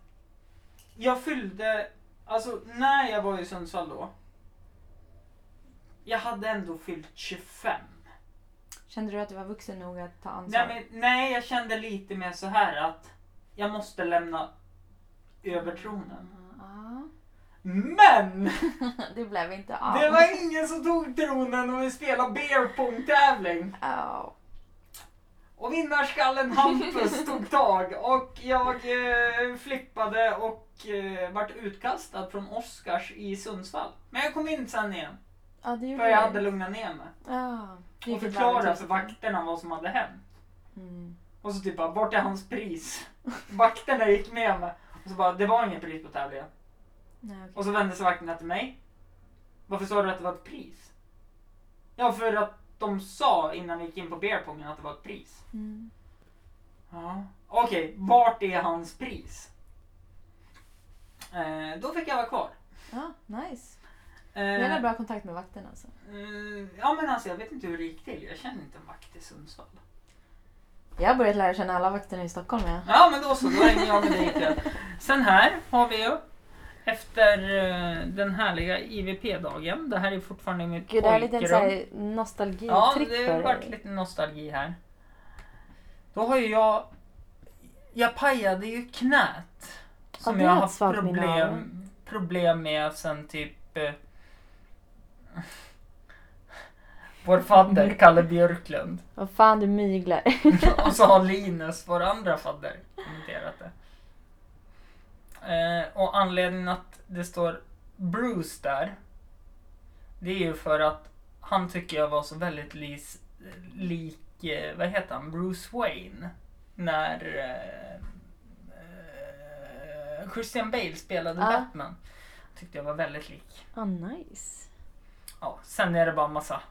S3: jag fyllde, alltså när jag var i Sundsvall då. Jag hade ändå fyllt 25.
S2: Kände du att du var vuxen nog att ta ansvar?
S3: Nej, men, nej jag kände lite mer så här att jag måste lämna över tronen.
S2: Ja.
S3: Men!
S2: Ah. Det blev inte av.
S3: Det var ingen som tog tronen och vi spelade beer pong tävling.
S2: Au.
S3: Och vinnarskallen Hampus tog tag och jag eh, flippade och eh, vart utkastad från Oscars i Sundsvall. Men jag kom in sen igen.
S2: Ja, det Ah.
S3: För
S2: gjorde
S3: jag
S2: jag.
S3: hade lugnat ner mig.
S2: Ja. Det gick
S3: Och
S2: ett varv
S3: förklarat
S2: till.
S3: för vakterna vad som hade hänt.
S2: Mm.
S3: Och så typ bara, vart är hans pris? Vakterna gick med mig. Och så bara, det var inget pris på tävlingen.
S2: Nej, okej.
S3: Och så vände sig vakterna till mig. Varför sa du att det var ett pris? Ja, för att de sa innan vi gick in på beerpongen att det var ett pris.
S2: Mm.
S3: Ja. Okej, vart är hans pris? Eh, då fick jag vara kvar.
S2: Ja, Ah, nice.
S3: Eh,
S2: Ni hade bra kontakt med vakten alltså.
S3: eh, ja men alltså jag vet inte hur det gick till. Jag känner inte en vakt i Sundsvall.
S2: Jag har börjat lära känna alla vakterna i Stockholm ja.
S3: Ja men då så, då hänger jag med dig ikväll. Sen här har vi ju efter eh, den härliga IVP-dagen. Det här är fortfarande mitt
S7: Gud, det här är lite en så
S3: pojkrum.
S7: här nostalgitripp
S3: Ja, det har
S7: för
S3: varit
S7: dig.
S3: lite nostalgi här. Då har ju jag... Jag pajade ju knät. Som
S7: det
S3: jag
S7: är
S3: har
S7: ett
S3: haft
S7: svagt minne av.
S3: problem, problem med sen typ eh, vår fadder Kalle Björklund.
S7: Vad fan du myglar.
S3: Och så har Linus, vår andra fadder, kommenterat det. Eh, och anledningen att det står Bruce där, det är ju för att han tycker jag var så väldigt lis, lik, eh, vad heter han, Bruce Wayne. När eh, eh, Christian Bale spelade
S7: Ja.
S3: Batman. Tyckte jag var väldigt lik.
S7: Ah nice.
S3: Ja, sen är det bara massa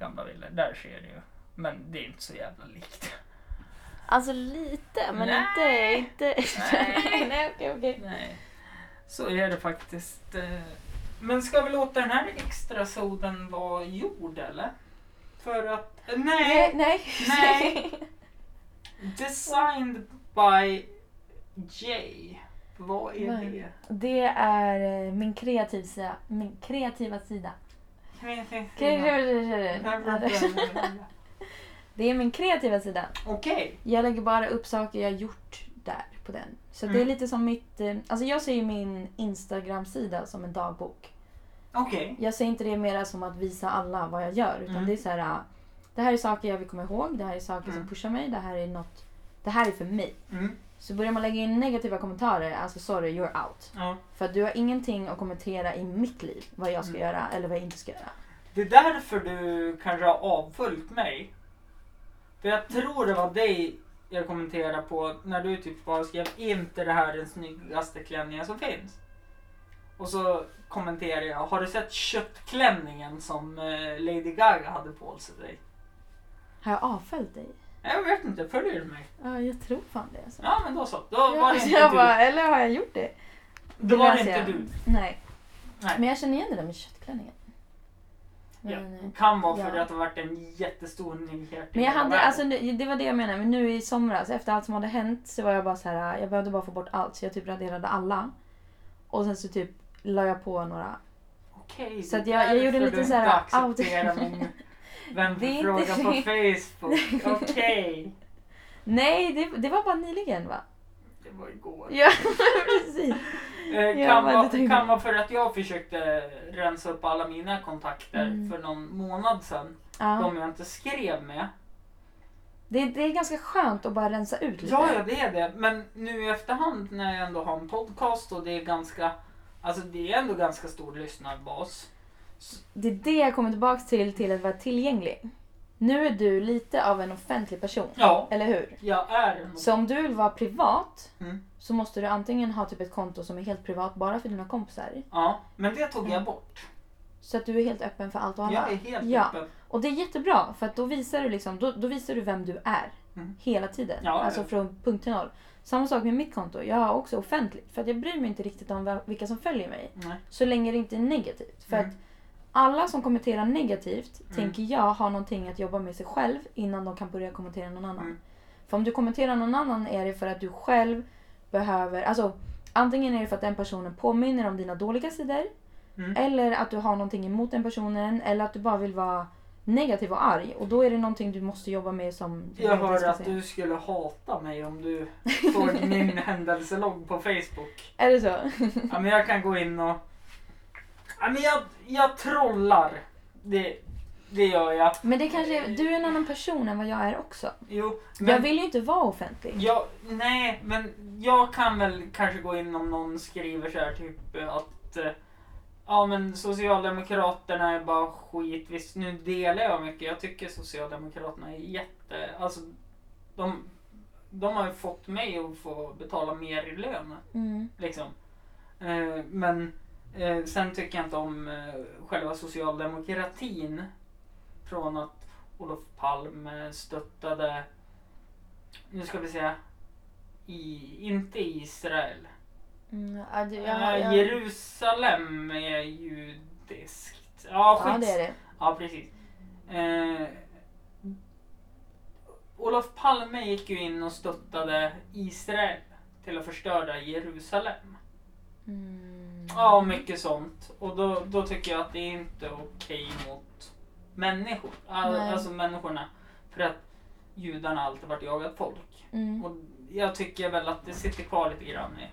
S3: gamla bilder, där ser det ju. Men det är inte så jävla likt.
S7: Alltså lite, men
S3: Nej.
S7: inte... inte.
S3: Nej.
S7: Nej, okej, okej.
S3: Nej, så är det faktiskt. eh. Men ska vi låta den här extra soden vara gjord eller? För att... eh,
S2: Nej,
S3: Nej!
S2: nej.
S3: Nej. Designed by Jay. Vad är
S2: Nej.
S3: det?
S2: Det är eh, min kreativ sida. Min kreativa sida.
S3: Kan jag inte säga?
S2: Det är min kreativa sida.
S3: Okej.
S2: Jag lägger bara upp saker jag gjort där på den. Så det är
S3: Mm.
S2: lite som mitt... eh, Alltså jag ser ju min Instagram-sida som en dagbok.
S3: Okej.
S2: Jag ser inte det mera som att visa alla vad jag gör. Utan
S3: Mm.
S2: det är så här... ah, Det här är saker jag vill komma ihåg. Det här är saker
S3: Mm.
S2: som pushar mig. Det här är något... Det här är för mig.
S3: Mm.
S2: Så börjar man lägga in negativa kommentarer, alltså sorry, you're out.
S3: Ja.
S2: För att du har ingenting att kommentera i mitt liv. Vad jag
S3: Mm.
S2: ska göra eller vad jag inte ska göra.
S3: Det är därför du kanske har avföljt mig. För jag tror det var dig jag kommenterade på när du typ bara skrev inte det här är den snyggaste klänningen som finns. Och så kommenterade jag, har du sett köttklänningen som eh, Lady Gaga hade på sig?
S2: Har jag avföljt dig?
S3: Jag vet inte, följer du mig?
S2: Ja, jag tror fan det. Alltså.
S3: Ja men då så, då var det
S2: Ja,
S3: inte
S2: jag
S3: du.
S2: bara, eller har jag gjort det?
S3: Då var det
S2: läser
S3: inte
S2: jag.
S3: du.
S2: Nej.
S3: Nej.
S2: Men jag känner igen det där med köttklänningen.
S3: Ja.
S2: Men, eh,
S3: Kan vara för
S2: Ja.
S3: att det varit en jättestor nyhet. i
S2: men jag
S3: hela
S2: hade,
S3: världen.
S2: alltså, nu- det var det jag menade. Men nu i somras, efter allt som hade hänt, så var jag bara så här, jag behövde bara få bort allt. Så jag typ raderade alla. Och sen så typ la jag på några.
S3: Okej,
S2: Så
S3: det
S2: att jag- jag
S3: är
S2: gjorde
S3: därför
S2: lite
S3: du
S2: så här,
S3: inte accepterar
S2: out-
S3: min
S2: Det är inte
S3: vänfråga på
S2: det.
S3: Facebook. Okej.
S2: Nej, det, det var bara nyligen va?
S3: Det var igår.
S2: Ja, precis.
S3: Eh,
S2: Ja,
S3: kan,
S2: men
S3: vara,
S2: det tänker
S3: kan
S2: jag.
S3: vara för att jag försökte rensa upp alla mina kontakter för någon månad sedan.
S2: Ja.
S3: De jag inte skrev med.
S2: Det, det är ganska skönt att bara rensa ut lite.
S3: Ja, ja, det är det. Men nu i efterhand när jag ändå har en podcast och det är ganska, alltså det är ändå ganska stor lyssnarbas.
S2: Det är det jag kommer tillbaka till, till att vara tillgänglig. Nu är du lite av en offentlig person,
S3: Ja,
S2: eller hur?
S3: jag är en
S2: Så om du vill vara privat
S3: Mm.
S2: så måste du antingen ha typ ett konto som är helt privat bara för dina kompisar.
S3: Ja, men det tog jag bort.
S2: Så att du är helt öppen för allt och alla.
S3: Jag är helt
S2: ja.
S3: öppen.
S2: Och det är jättebra för att då visar du, liksom, då, då visar du vem du är.
S3: Mm.
S2: Hela tiden.
S3: Ja, ja.
S2: alltså från punkt till noll. Samma sak med mitt konto. Jag har också offentligt. För att jag bryr mig inte riktigt om vem- vilka som följer mig.
S3: Nej.
S2: Så länge det inte är negativt. För
S3: Mm.
S2: att alla som kommenterar negativt
S3: Mm.
S2: tänker jag har någonting att jobba med sig själv innan de kan börja kommentera någon annan.
S3: Mm.
S2: För om du kommenterar någon annan är det för att du själv behöver, alltså antingen är det för att den personen påminner om dina dåliga sidor.
S3: Mm.
S2: Eller att du har någonting emot den personen eller att du bara vill vara negativ och arg. Och då är det någonting du måste jobba med som...
S3: Jag
S2: inte
S3: hörde
S2: ska
S3: att
S2: säga.
S3: du skulle hata mig om du såg min händelselogg på Facebook.
S2: Är det så?
S3: Ja, men jag kan gå in och... Ja, men jag, jag trollar. Det, det gör jag.
S2: Men det kanske är, du är en annan person än vad jag är också.
S3: Jo,
S2: jag
S3: men...
S2: vill ju inte vara offentlig.
S3: Jag, nej, men jag kan väl kanske gå in om någon skriver så här typ eh, att eh, Ja men Socialdemokraterna är bara skit. Visst nu delar jag mycket. Jag tycker Socialdemokraterna är jätte... Alltså de, de har ju fått mig att få betala mer i lön.
S2: Mm.
S3: Liksom. Eh, men eh, sen tycker jag inte om eh, själva socialdemokratin. Från att Olof Palme stöttade, nu ska vi säga, i, inte Israel.
S2: Mm, ja, det- jag,
S3: Eh,
S2: jag,
S3: Jerusalem är judiskt. Ja,
S2: ja, det
S3: skits.
S2: är det.
S3: Ja, precis. Eh, Olof Palme gick ju in och stöttade Israel till att förstöra Jerusalem.
S2: Mm.
S3: Ja, och mycket sånt. Och då, då tycker jag att det är inte okej mot människor. All,
S2: Nej.
S3: alltså människorna. För att judarna har alltid varit jagat folk.
S2: Mm.
S3: Och jag tycker väl att det sitter kvar lite grann i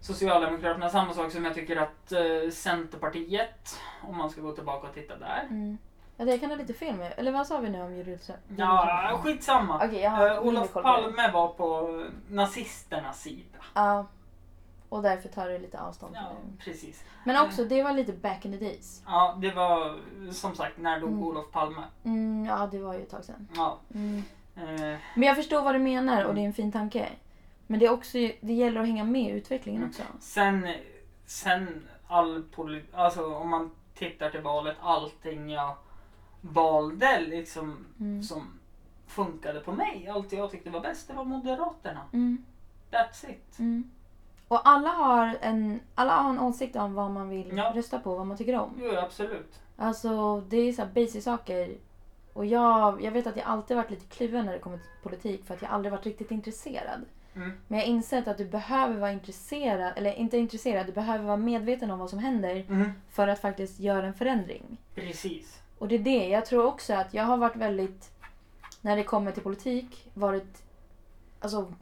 S3: Socialdemokraterna samma sak som jag tycker att eh, Centerpartiet, om man ska gå tillbaka och titta där.
S2: Mm. Ja, det kan ha lite fel med. Eller vad sa vi nu om Jerusalem?
S3: Ja, skitsamma.
S2: Okej, jag har
S3: Eh, Olof
S2: mindre koll på det.
S3: Palme var på nazisternas sida.
S2: Ja. Och därför tar du lite avstånd från
S3: Ja,
S2: det.
S3: precis.
S2: Men också, det var lite back in the days.
S3: Ja, det var som sagt, när dog
S2: Mm.
S3: Olof Palme?
S2: Mm, ja, det var ju ett tag sedan.
S3: Ja.
S2: Mm.
S3: Eh,
S2: Men jag förstår vad du menar och det är en fin tanke. Men det, är också, ju- det gäller att hänga med i utvecklingen
S3: Mm.
S2: också.
S3: sen, sen all politik, alltså om man tittar till valet, allting jag valde liksom
S2: Mm.
S3: som funkade på mig, allt jag tyckte var bäst, det var Moderaterna.
S2: Mm,
S3: That's it.
S2: mm. Och alla har, en, alla har en åsikt om vad man vill
S3: Ja.
S2: rösta på, vad man tycker om.
S3: Jo, absolut.
S2: Alltså det är så här basic saker. Och jag, jag vet att jag alltid varit lite kluven när det kommer till politik för att jag aldrig varit riktigt intresserad.
S3: Mm.
S2: Men jag har insett att du behöver vara intresserad, eller inte intresserad, du behöver vara medveten om vad som händer
S3: Mm.
S2: för att faktiskt göra en förändring.
S3: Precis.
S2: Och det är det, jag tror också att jag har varit väldigt, när det kommer till politik, varit alltså,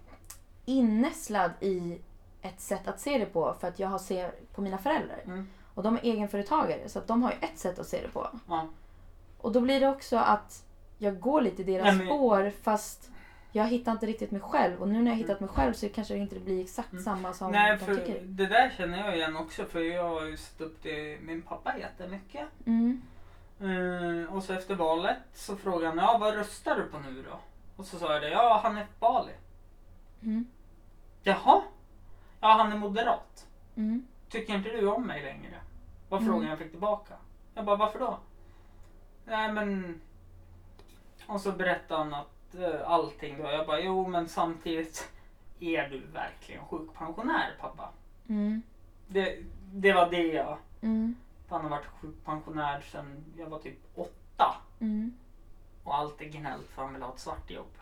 S2: innästlad i ett sätt att se det på för att jag har ser på mina föräldrar.
S3: Mm.
S2: Och de är egenföretagare så att de har ju ett sätt att se det på.
S3: Ja.
S2: Och då blir det också att jag går lite i deras
S3: Nej, men-
S2: spår fast jag hittar inte riktigt mig själv och nu när jag hittat mig själv så kanske det inte blir exakt
S3: Mm.
S2: samma som
S3: Nej,
S2: de
S3: för
S2: tycker.
S3: det där känner jag igen också för jag har ju sett upp till min pappa jättemycket.
S2: Mm.
S3: Eh, och så efter valet så frågade han ja, vad röstar du på nu då? Och så sa jag det, ja Hanif Bali.
S2: Mm.
S3: Jaha? Ja, han är moderat.
S2: Mm.
S3: Tycker inte du om mig längre? Var
S2: Mm.
S3: frågan jag fick tillbaka. Jag bara, varför då? Nej men... Och så berättade han att eh, allting då. Jag bara, jo men samtidigt är du verkligen sjukpensionär pappa.
S2: Mm.
S3: Det, det var det jag...
S2: Mm.
S3: Han har varit sjukpensionär sedan jag var typ åtta.
S2: Mm.
S3: Och allt är gnällt för han vill ha ett svart jobb.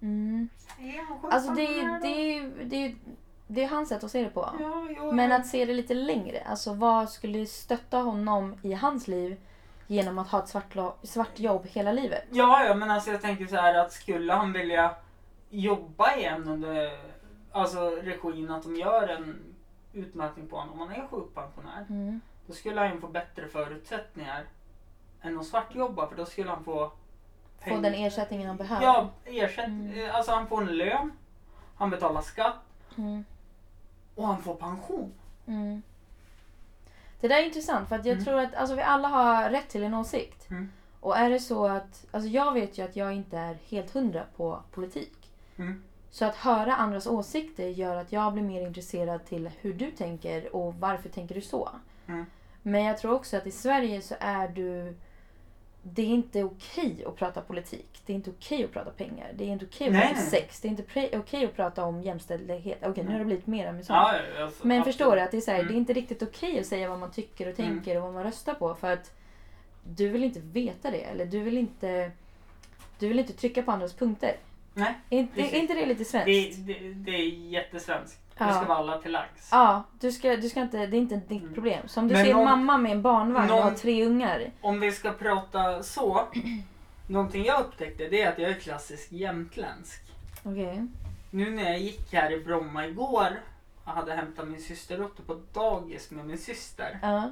S2: Mm.
S3: Är han
S2: Alltså det är,
S3: sjukpensionär
S2: det,
S3: då?
S2: är, det, är, det är hans sätt att se det på.
S3: Ja, jo,
S2: Men
S3: jo.
S2: att se det lite längre. Alltså vad skulle stötta honom i hans liv genom att ha ett svart, lo- svart jobb hela livet?
S3: Ja, ja, men alltså jag tänker så här att skulle han vilja jobba igen under alltså, regin att de gör en utmätning på honom om han är sjukpensionär.
S2: Mm.
S3: Då skulle han ju få bättre förutsättningar än att svartjobba för då skulle han få...
S2: Få
S3: peng-
S2: den ersättningen han behöver.
S3: Ja, ersättning.
S2: Mm.
S3: Alltså han får en lön, han betalar skatt
S2: Mm.
S3: och han får pension.
S2: Mm. Det där är intressant för att jag
S3: Mm.
S2: tror att alltså, vi alla har rätt till en åsikt.
S3: Mm.
S2: Och är det så att, alltså jag vet ju att jag inte är helt hundra på politik.
S3: Mm.
S2: Så att höra andras åsikter gör att jag blir mer intresserad till hur du tänker och varför tänker du så.
S3: Mm.
S2: Men jag tror också att i Sverige så är du, det är inte okej att prata politik. Det är inte okej att prata pengar. Det är inte okej att
S3: Nej,
S2: prata
S3: nej. Mm.
S2: sex. Det är inte pre- okej att prata om jämställdhet. Okej, nu har det blivit mer än så.
S3: Ja, ja, alltså,
S2: Men förstår du
S3: absolut.
S2: att det är, så här,
S3: Mm.
S2: det är inte riktigt okej att säga vad man tycker och
S3: Mm.
S2: tänker och vad man röstar på för att du vill inte veta det eller du vill inte, du vill inte trycka på andras punkter.
S3: Nej,
S2: Är inte,
S3: precis.
S2: är inte det lite
S3: det,
S2: svenskt?
S3: det, det är jättesvenskt.
S2: Ja.
S3: Det ska vara alla till lags.
S2: Ja, du ska, du ska inte, det är inte ditt
S3: Mm.
S2: problem. Så om du
S3: Men
S2: ser
S3: någon-
S2: mamma med en barnvagn och har
S3: någon-
S2: tre ungar.
S3: Om vi ska prata så. Någonting jag upptäckte det är att jag är klassisk jämtländsk.
S2: Okej.
S3: Nu när jag gick här i Bromma igår och hade hämtat min systerdotter på dagis med min syster.
S2: Ja.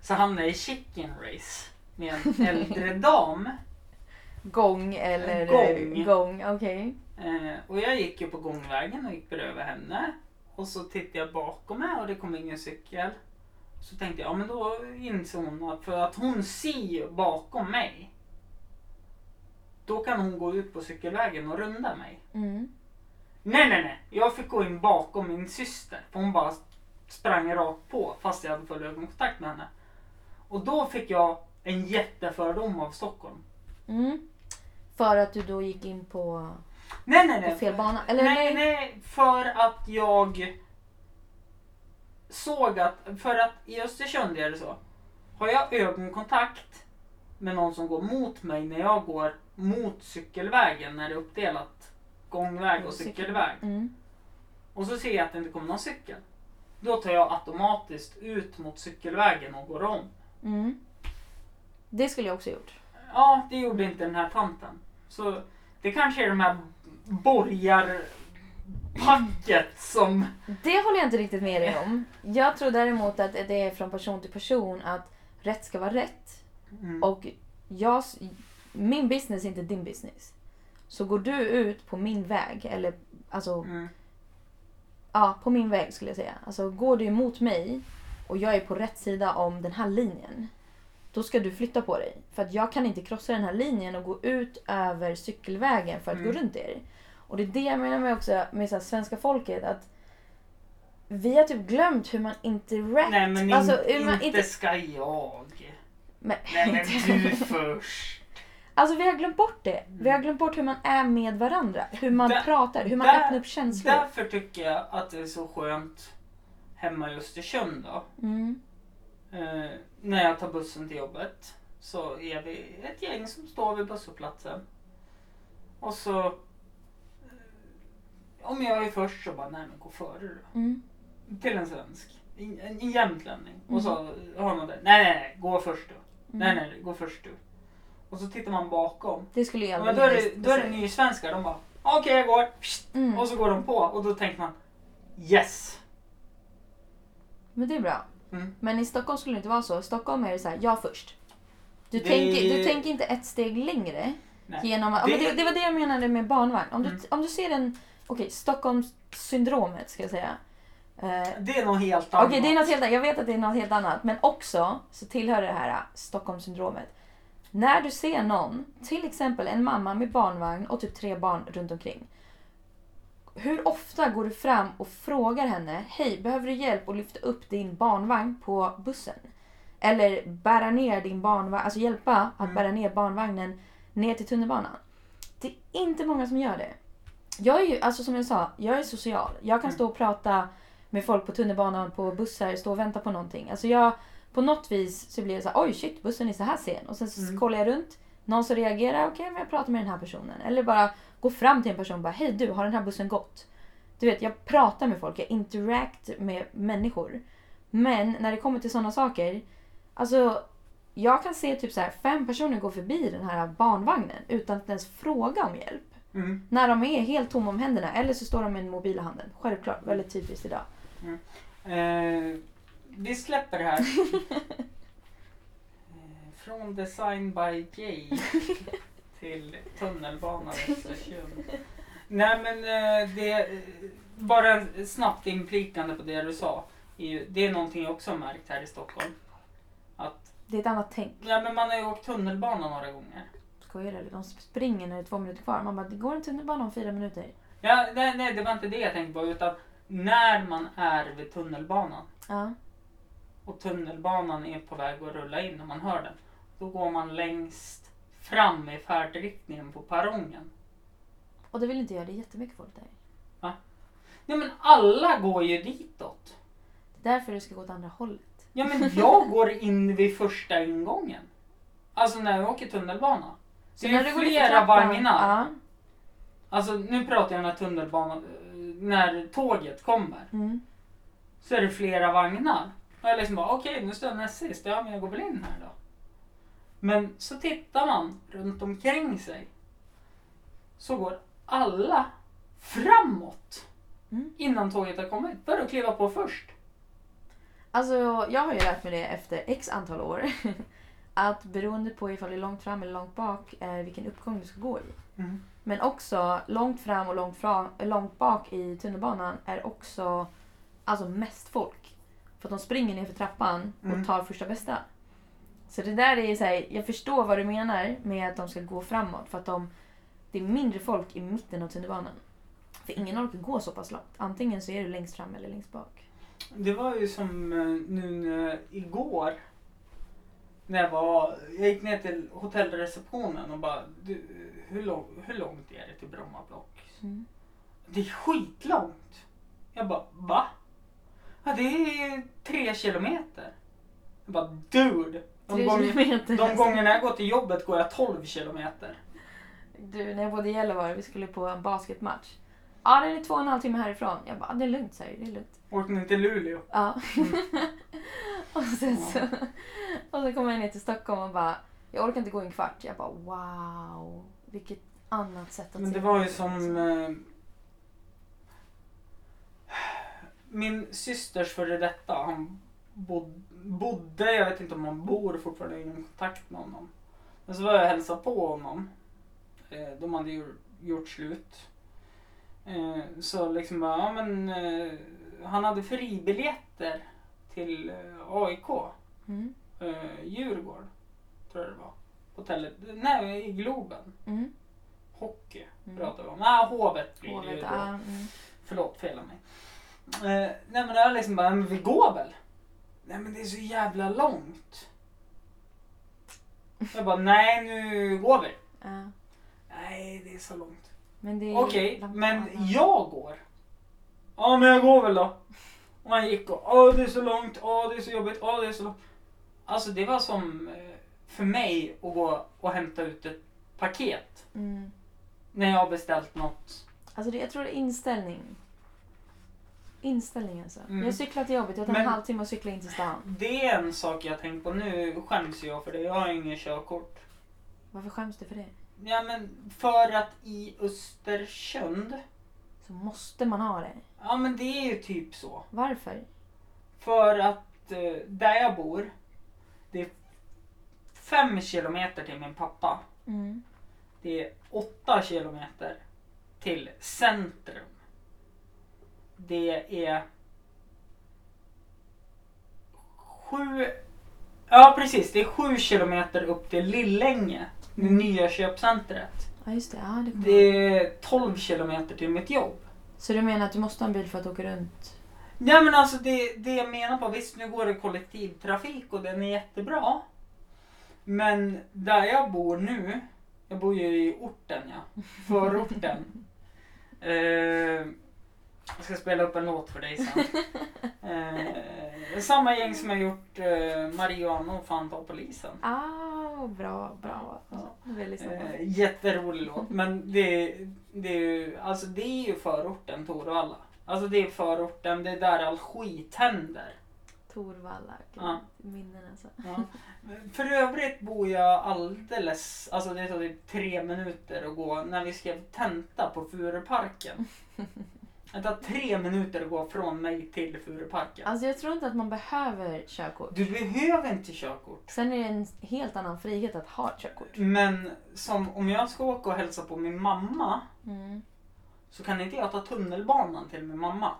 S3: Så hamnade jag i chicken race med en äldre dam.
S2: Gång eller
S3: Gång.
S2: gång okej.
S3: Eh, och jag gick ju på gångvägen och gick bredvid henne. Och så tittade jag bakom mig och det kom ingen cykel. Så tänkte jag, ja men då insåg hon att för att hon ser ju bakom mig. Då kan hon gå ut på cykelvägen och runda mig.
S2: Mm.
S3: Nej, nej, nej. Jag fick gå in bakom min syster. För hon bara sprang rakt på fast jag hade full ögonkontakt med henne. Och då fick jag en jättefördom av Stockholm.
S2: Mm. För att du då gick in på,
S3: Nej, nej,
S2: på
S3: nej.
S2: fel bana? Eller
S3: nej, nej, för att jag såg att, för att i Östersund är det så. Har jag ögonkontakt med någon som går mot mig när jag går mot cykelvägen när det är uppdelat gångväg och cykelväg.
S2: Mm.
S3: och så ser jag att det inte kommer någon cykel. Då tar jag automatiskt ut mot cykelvägen och går om.
S2: Mm. Det skulle jag också gjort.
S3: Ja, det gjorde inte den här tanten. Så det kanske är de här borgar... packet som...
S2: Det håller jag inte riktigt med dig om. Jag tror däremot att det är från person till person att rätt ska vara rätt.
S3: Mm.
S2: Och jag, min business är inte din business. Så går du ut på min väg, eller alltså
S3: Mm.
S2: Ja, på min väg skulle jag säga. Alltså går du emot mig och jag är på rätt sida om den här linjen. Då ska du flytta på dig. För att jag kan inte krossa den här linjen och gå ut över cykelvägen för att
S3: Mm.
S2: gå runt er. Och det är det jag menar med också med så här, svenska folket. att Vi har typ glömt hur man interact.
S3: Nej men
S2: alltså,
S3: in,
S2: hur man
S3: inte ska jag.
S2: Men,
S3: Nej men du Mm. först.
S2: alltså vi har glömt bort det. Vi har glömt bort hur man är med varandra. Hur man
S3: Där-
S2: pratar, hur man
S3: där-
S2: öppnar upp känslor.
S3: Därför tycker jag att det är så skönt hemma i Östersund då.
S2: Mm.
S3: Eh, när jag tar bussen till jobbet så är vi ett gäng som står vid busshållplatsen. Och så... eh, Om jag är först så bara, nej men gå före då.
S2: Mm.
S3: Till en svensk. En, en, en jämtlänning. Och så
S2: Mm.
S3: har man det. Nej, nej, nej, gå först du. Nej, nej, nej, gå först du. Och så tittar man bakom.
S2: Det skulle jag
S3: Men då är det, då är det nysvenskar. De bara, okej jag går. Psst.
S2: Mm.
S3: Och så går de på. Och då tänker man, yes.
S2: Men det är bra.
S3: Mm.
S2: Men i Stockholm skulle det inte vara så. I Stockholm är det så här, jag först. Du,
S3: Det-
S2: tänker, du tänker inte ett steg längre.
S3: Nej.
S2: Genom att, det...
S3: Det-
S2: Men det, det var det jag menade med barnvagn. Om du,
S3: Mm.
S2: om du ser en... Okej, Stockholmssyndromet ska jag säga. Eh,
S3: Det är nog helt
S2: Okej,
S3: annat.
S2: det är något helt annat. Jag vet att det är något helt annat. Men också så tillhör det här äh, Stockholmssyndromet. När du ser någon, till exempel en mamma med barnvagn och typ tre barn runt omkring. Hur ofta går du fram och frågar henne, hej behöver du hjälp att lyfta upp din barnvagn på bussen? Eller bära ner din barnvagn, alltså hjälpa att bära ner barnvagnen ner till tunnelbanan. Det är inte många som gör det. Jag är ju, alltså som jag sa, jag är social. Jag kan stå och prata med folk på tunnelbanan, på bussar, stå och vänta på någonting. Alltså jag, på något vis så blir det så här, oj shit bussen är så här sen. Och sen så kollar jag runt, någon som reagerar, okej men jag pratar med den här personen. Eller bara gå fram till en person och bara, hej du har den här bussen gått? Du vet jag pratar med folk, jag interact med människor. Men när det kommer till sådana saker, alltså jag kan se typ så här, fem personer gå förbi den här barnvagnen utan att ens fråga om hjälp.
S3: Mm.
S2: När de är helt tomma om händerna eller så står de med en mobil i handen. Självklart, väldigt typiskt idag.
S3: Eh, vi släpper det här. Eh, Från Design by Jay till Tunnelbanan Östersund. Nej men eh, det, eh, bara en snabbt inplikande på det du sa. är ju- Det är någonting jag också har märkt här i Stockholm. Att,
S2: Det är ett annat tänk.
S3: nej, men man har ju åkt tunnelbana några gånger.
S2: Skojar du? De springer när det är två minuter kvar. Man bara, det går en tunnelbana om fyra minuter.
S3: Ja, nej, nej, det var inte det jag tänkte på utan när man är vid tunnelbanan.
S2: Ja.
S3: och tunnelbanan är på väg att rulla in när man hör den. Då går man längst fram i färdriktningen på perrongen.
S2: Och det vill inte jag. Det är jättemycket folk där.
S3: Nej men alla går ju ditåt.
S2: Det är därför du ska gå åt andra hållet.
S3: Ja men jag går in vid första ingången. Alltså när jag åker tunnelbana. Så det är
S2: ut för
S3: flera
S2: trappan-
S3: vagnar.
S2: Ja.
S3: Alltså nu pratar jag när tunnelbanan, eh, när tåget kommer.
S2: Mm.
S3: Så är det flera vagnar. Och jag liksom bara okej nu står jag näst sist, ja men jag går väl in här då. Men så tittar man runt omkring sig. Så går alla framåt.
S2: Mm.
S3: Innan tåget har kommit. För att kliva på först.
S2: Alltså, jag har ju lärt mig det efter x antal år. Att beroende på ifall det är långt fram eller långt bak, eh, vilken uppgång du ska gå i.
S3: Mm.
S2: Men också långt fram och långt, fram, långt bak i tunnelbanan är också alltså mest folk. För att de springer ner för trappan
S3: Mm.
S2: och tar första bästa. Så det där är så här, jag förstår vad du menar med att de ska gå framåt. För att de, det är mindre folk i mitten av tunnelbanan. För ingen orkar gå så pass långt. Antingen så är du längst fram eller längst bak.
S3: Det var ju som eh, nu när- igår. När jag, var, jag gick ner till hotellreceptionen och bara, du, hur, lång, hur långt är det till Bromma block?
S2: Mm.
S3: Det är skitlångt. Jag bara, va? Ja, det är tre kilometer. Jag bara, dude. De,
S2: Tre
S3: gång,
S2: kilometer.
S3: de gångerna jag går till jobbet går jag 12 kilometer.
S2: Du, när jag bodde i Gällivare, vi skulle på en basketmatch. Ja, den är två och en halv timme härifrån. Jag bara, "Ah, det är lugnt säger det är lugnt.
S3: Åkte ni till Luleå?
S2: Ja. och sen så... Och sen kom jag ner till Stockholm och bara, jag orkar inte gå en kvart. Jag bara, wow. Vilket annat sätt att
S3: Men
S2: se
S3: det var ju
S2: på
S3: som...
S2: liksom.
S3: eh, min systers före detta, han bod, bodde, jag vet inte om han bor fortfarande, jag har ingen kontakt med honom. Men så var jag och hälsade på honom. Eh, de hade ju gjort slut. Eh, så liksom bara, ja men eh, han hade fribiljetter till eh, AIK.
S2: Mm.
S3: Eh, Djurgården, tror jag det var. På tele- nej, i Globen.
S2: Mm.
S3: Hockey
S2: Mm.
S3: pratar vi om. Nej, Hovet blir det ju
S2: Hovet,
S3: då.
S2: ah, mm.
S3: Förlåt, fel av mig. Eh, nej men jag liksom bara, men vi går väl? Nej men det är så jävla långt. Jag bara, nej nu går vi.
S2: ah.
S3: Nej det är så långt.
S2: Men det är ju
S3: Okej,
S2: långt
S3: men
S2: kvar, ja.
S3: jag går. Ja men jag går väl då. Och han gick och, åh det är så långt, åh det är så jobbigt, åh det är så långt. Alltså det var som eh, för mig att gå och hämta ut ett paket.
S2: Mm.
S3: När jag har beställt något.
S2: Alltså det, jag tror det är inställning. Inställning alltså.
S3: Mm.
S2: Jag cyklar till jobbet, jag tar
S3: Men-
S2: en halvtimme att cykla in till stan.
S3: Det är en sak jag tänkt på. Nu skäms jag för det. Jag har ingen körkort.
S2: Varför skäms du för det?
S3: Ja, men för att i Östersund.
S2: Så måste man ha det.
S3: Ja, men det är ju typ så.
S2: Varför?
S3: För att eh, där jag bor. Det är fem kilometer till min pappa.
S2: Mm.
S3: Det är åtta kilometer till centrum. Det är sju... Ja precis, det är sju kilometer upp till Lillänge, det nya köpcentret.
S2: Ja just det, ja det kommer jag ihåg.
S3: Det är 12 kilometer till mitt jobb.
S2: Så du menar att du måste ha en bil för att åka runt?
S3: Nej men alltså det, det jag menar på, visst nu går det kollektivtrafik och den är jättebra. Men där jag bor nu, jag bor ju i orten ja, förorten. eh, jag ska spela upp en låt för dig sen. Eh, samma gäng som har gjort eh, Mariano och Fanta och polisen.
S2: Ah, bra, bra.
S3: Ja.
S2: Nu vill jag lyssna på
S3: Eh,
S2: det.
S3: jätterolig låt. Men det, det, är ju, alltså det är ju förorten Torvalla. Alltså det är förorten, det är där all skit händer.
S2: Torvalla. gud,
S3: Ja.
S2: Minnen alltså.
S3: Ja. För övrigt bor jag alldeles, alltså det tar typ tre minuter att gå, när vi skrev tenta på Furuparken. Det tar tre minuter att gå från mig till Furuparken.
S2: Alltså jag tror inte att man behöver körkort.
S3: Du behöver inte körkort.
S2: Sen är det en helt annan frihet att ha ett körkort.
S3: Men som om jag ska åka och hälsa på min mamma
S2: Mm.
S3: så kan inte jag ta tunnelbanan till min mamma.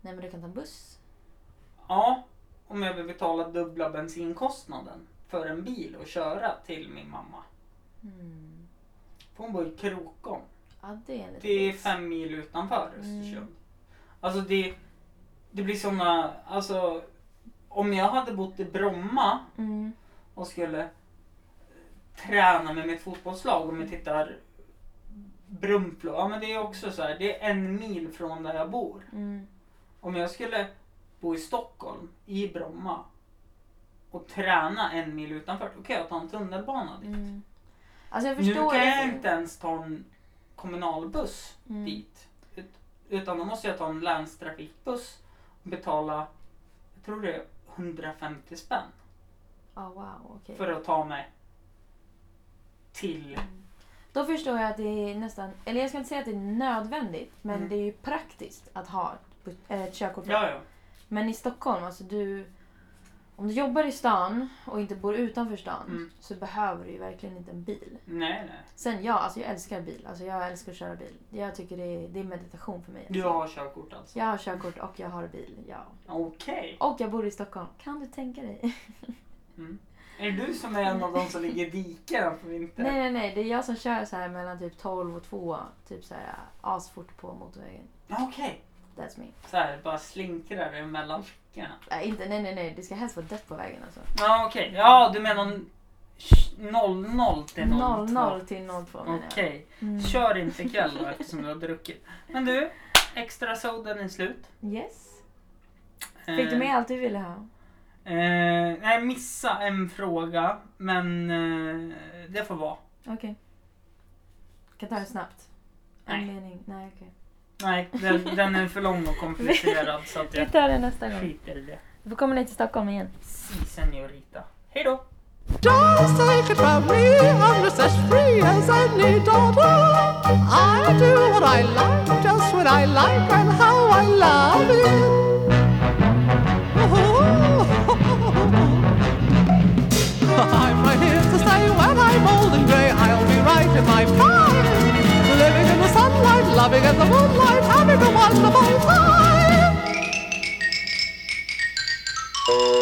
S2: Nej men du kan ta en buss.
S3: Ja, om jag vill betala dubbla bensinkostnaden för en bil och köra till min mamma.
S2: Mm.
S3: För hon bor i Krokom.
S2: Ja det är lite
S3: Det är
S2: fix.
S3: fem mil utanför Östersund.
S2: Mm.
S3: Alltså det, det blir såna, alltså om jag hade bott i Bromma
S2: Mm.
S3: och skulle träna med mitt fotbollslag om vi tittar Brunflo, ja men det är också så här, det är en mil från där jag bor.
S2: Mm.
S3: Om jag skulle bo i Stockholm, i Bromma och träna en mil utanför, då kan jag ta en tunnelbana dit.
S2: Mm. Alltså jag
S3: Nu
S2: förstår
S3: kan
S2: det.
S3: jag inte ens ta en kommunalbuss
S2: Mm.
S3: dit. Ut- Utan då måste jag ta en länstrafikbuss och betala, jag tror det är 150 spänn
S2: Ja Ah, wow, okej.
S3: för att ta mig till...
S2: Mm. Då förstår jag att det är nästan, eller jag ska inte säga att det är nödvändigt, men
S3: Mm.
S2: det är ju praktiskt att ha ett bu- eh, ett körkort.
S3: Ja, ja.
S2: Men i Stockholm, alltså du... Om du jobbar i stan och inte bor utanför stan
S3: Mm.
S2: så behöver du ju verkligen inte en bil.
S3: Nej, nej.
S2: Sen ja, alltså jag älskar bil. Alltså jag älskar att köra bil. Jag tycker det är, det är meditation för mig.
S3: Du har körkort alltså?
S2: Jag har körkort och jag har bil, ja.
S3: Okej.
S2: Och jag bor i Stockholm. Kan du tänka dig?
S3: Är det du som är en av de som ligger i diken på vintern?
S2: nej, nej, nej. Det är jag som kör så här mellan typ 12 och 2. Typ så här asfort på motorvägen.
S3: Okej.
S2: That's me.
S3: Så här, bara slinkrar det mellan fickorna.
S2: Nej, Äh, inte, nej, nej, nej. Det ska helst vara dött på vägen alltså.
S3: Ja, okej. Ja, du menar 00 till 02?
S2: 00 till 02 menar
S3: Okej.
S2: jag. Mm.
S3: Kör inte ikväll då eftersom du har druckit. Men du, extra soden är slut.
S2: Yes. Fick du
S3: Eh,
S2: med allt du ville ha?
S3: Eh, nej, missa en fråga. Men eh, det får vara.
S2: Okej. Kan ta det snabbt. En
S3: Nej.
S2: mening. Nej, okej.
S3: Nej, den, den är för lång och komplicerad så att jag
S2: Vi tar det nästa gång.
S3: skiter i det.
S2: Vi kommer ner till Stockholm igen.
S3: Si, senorita. Hej då!
S1: Just take it from me, I'm just as free as any daughter. I do what I like, just when I like, and how I love it. are here to stay. When I'm old and grey, I'll be right in my prime. Living in the sunlight, loving in the moonlight, having a wonderful time.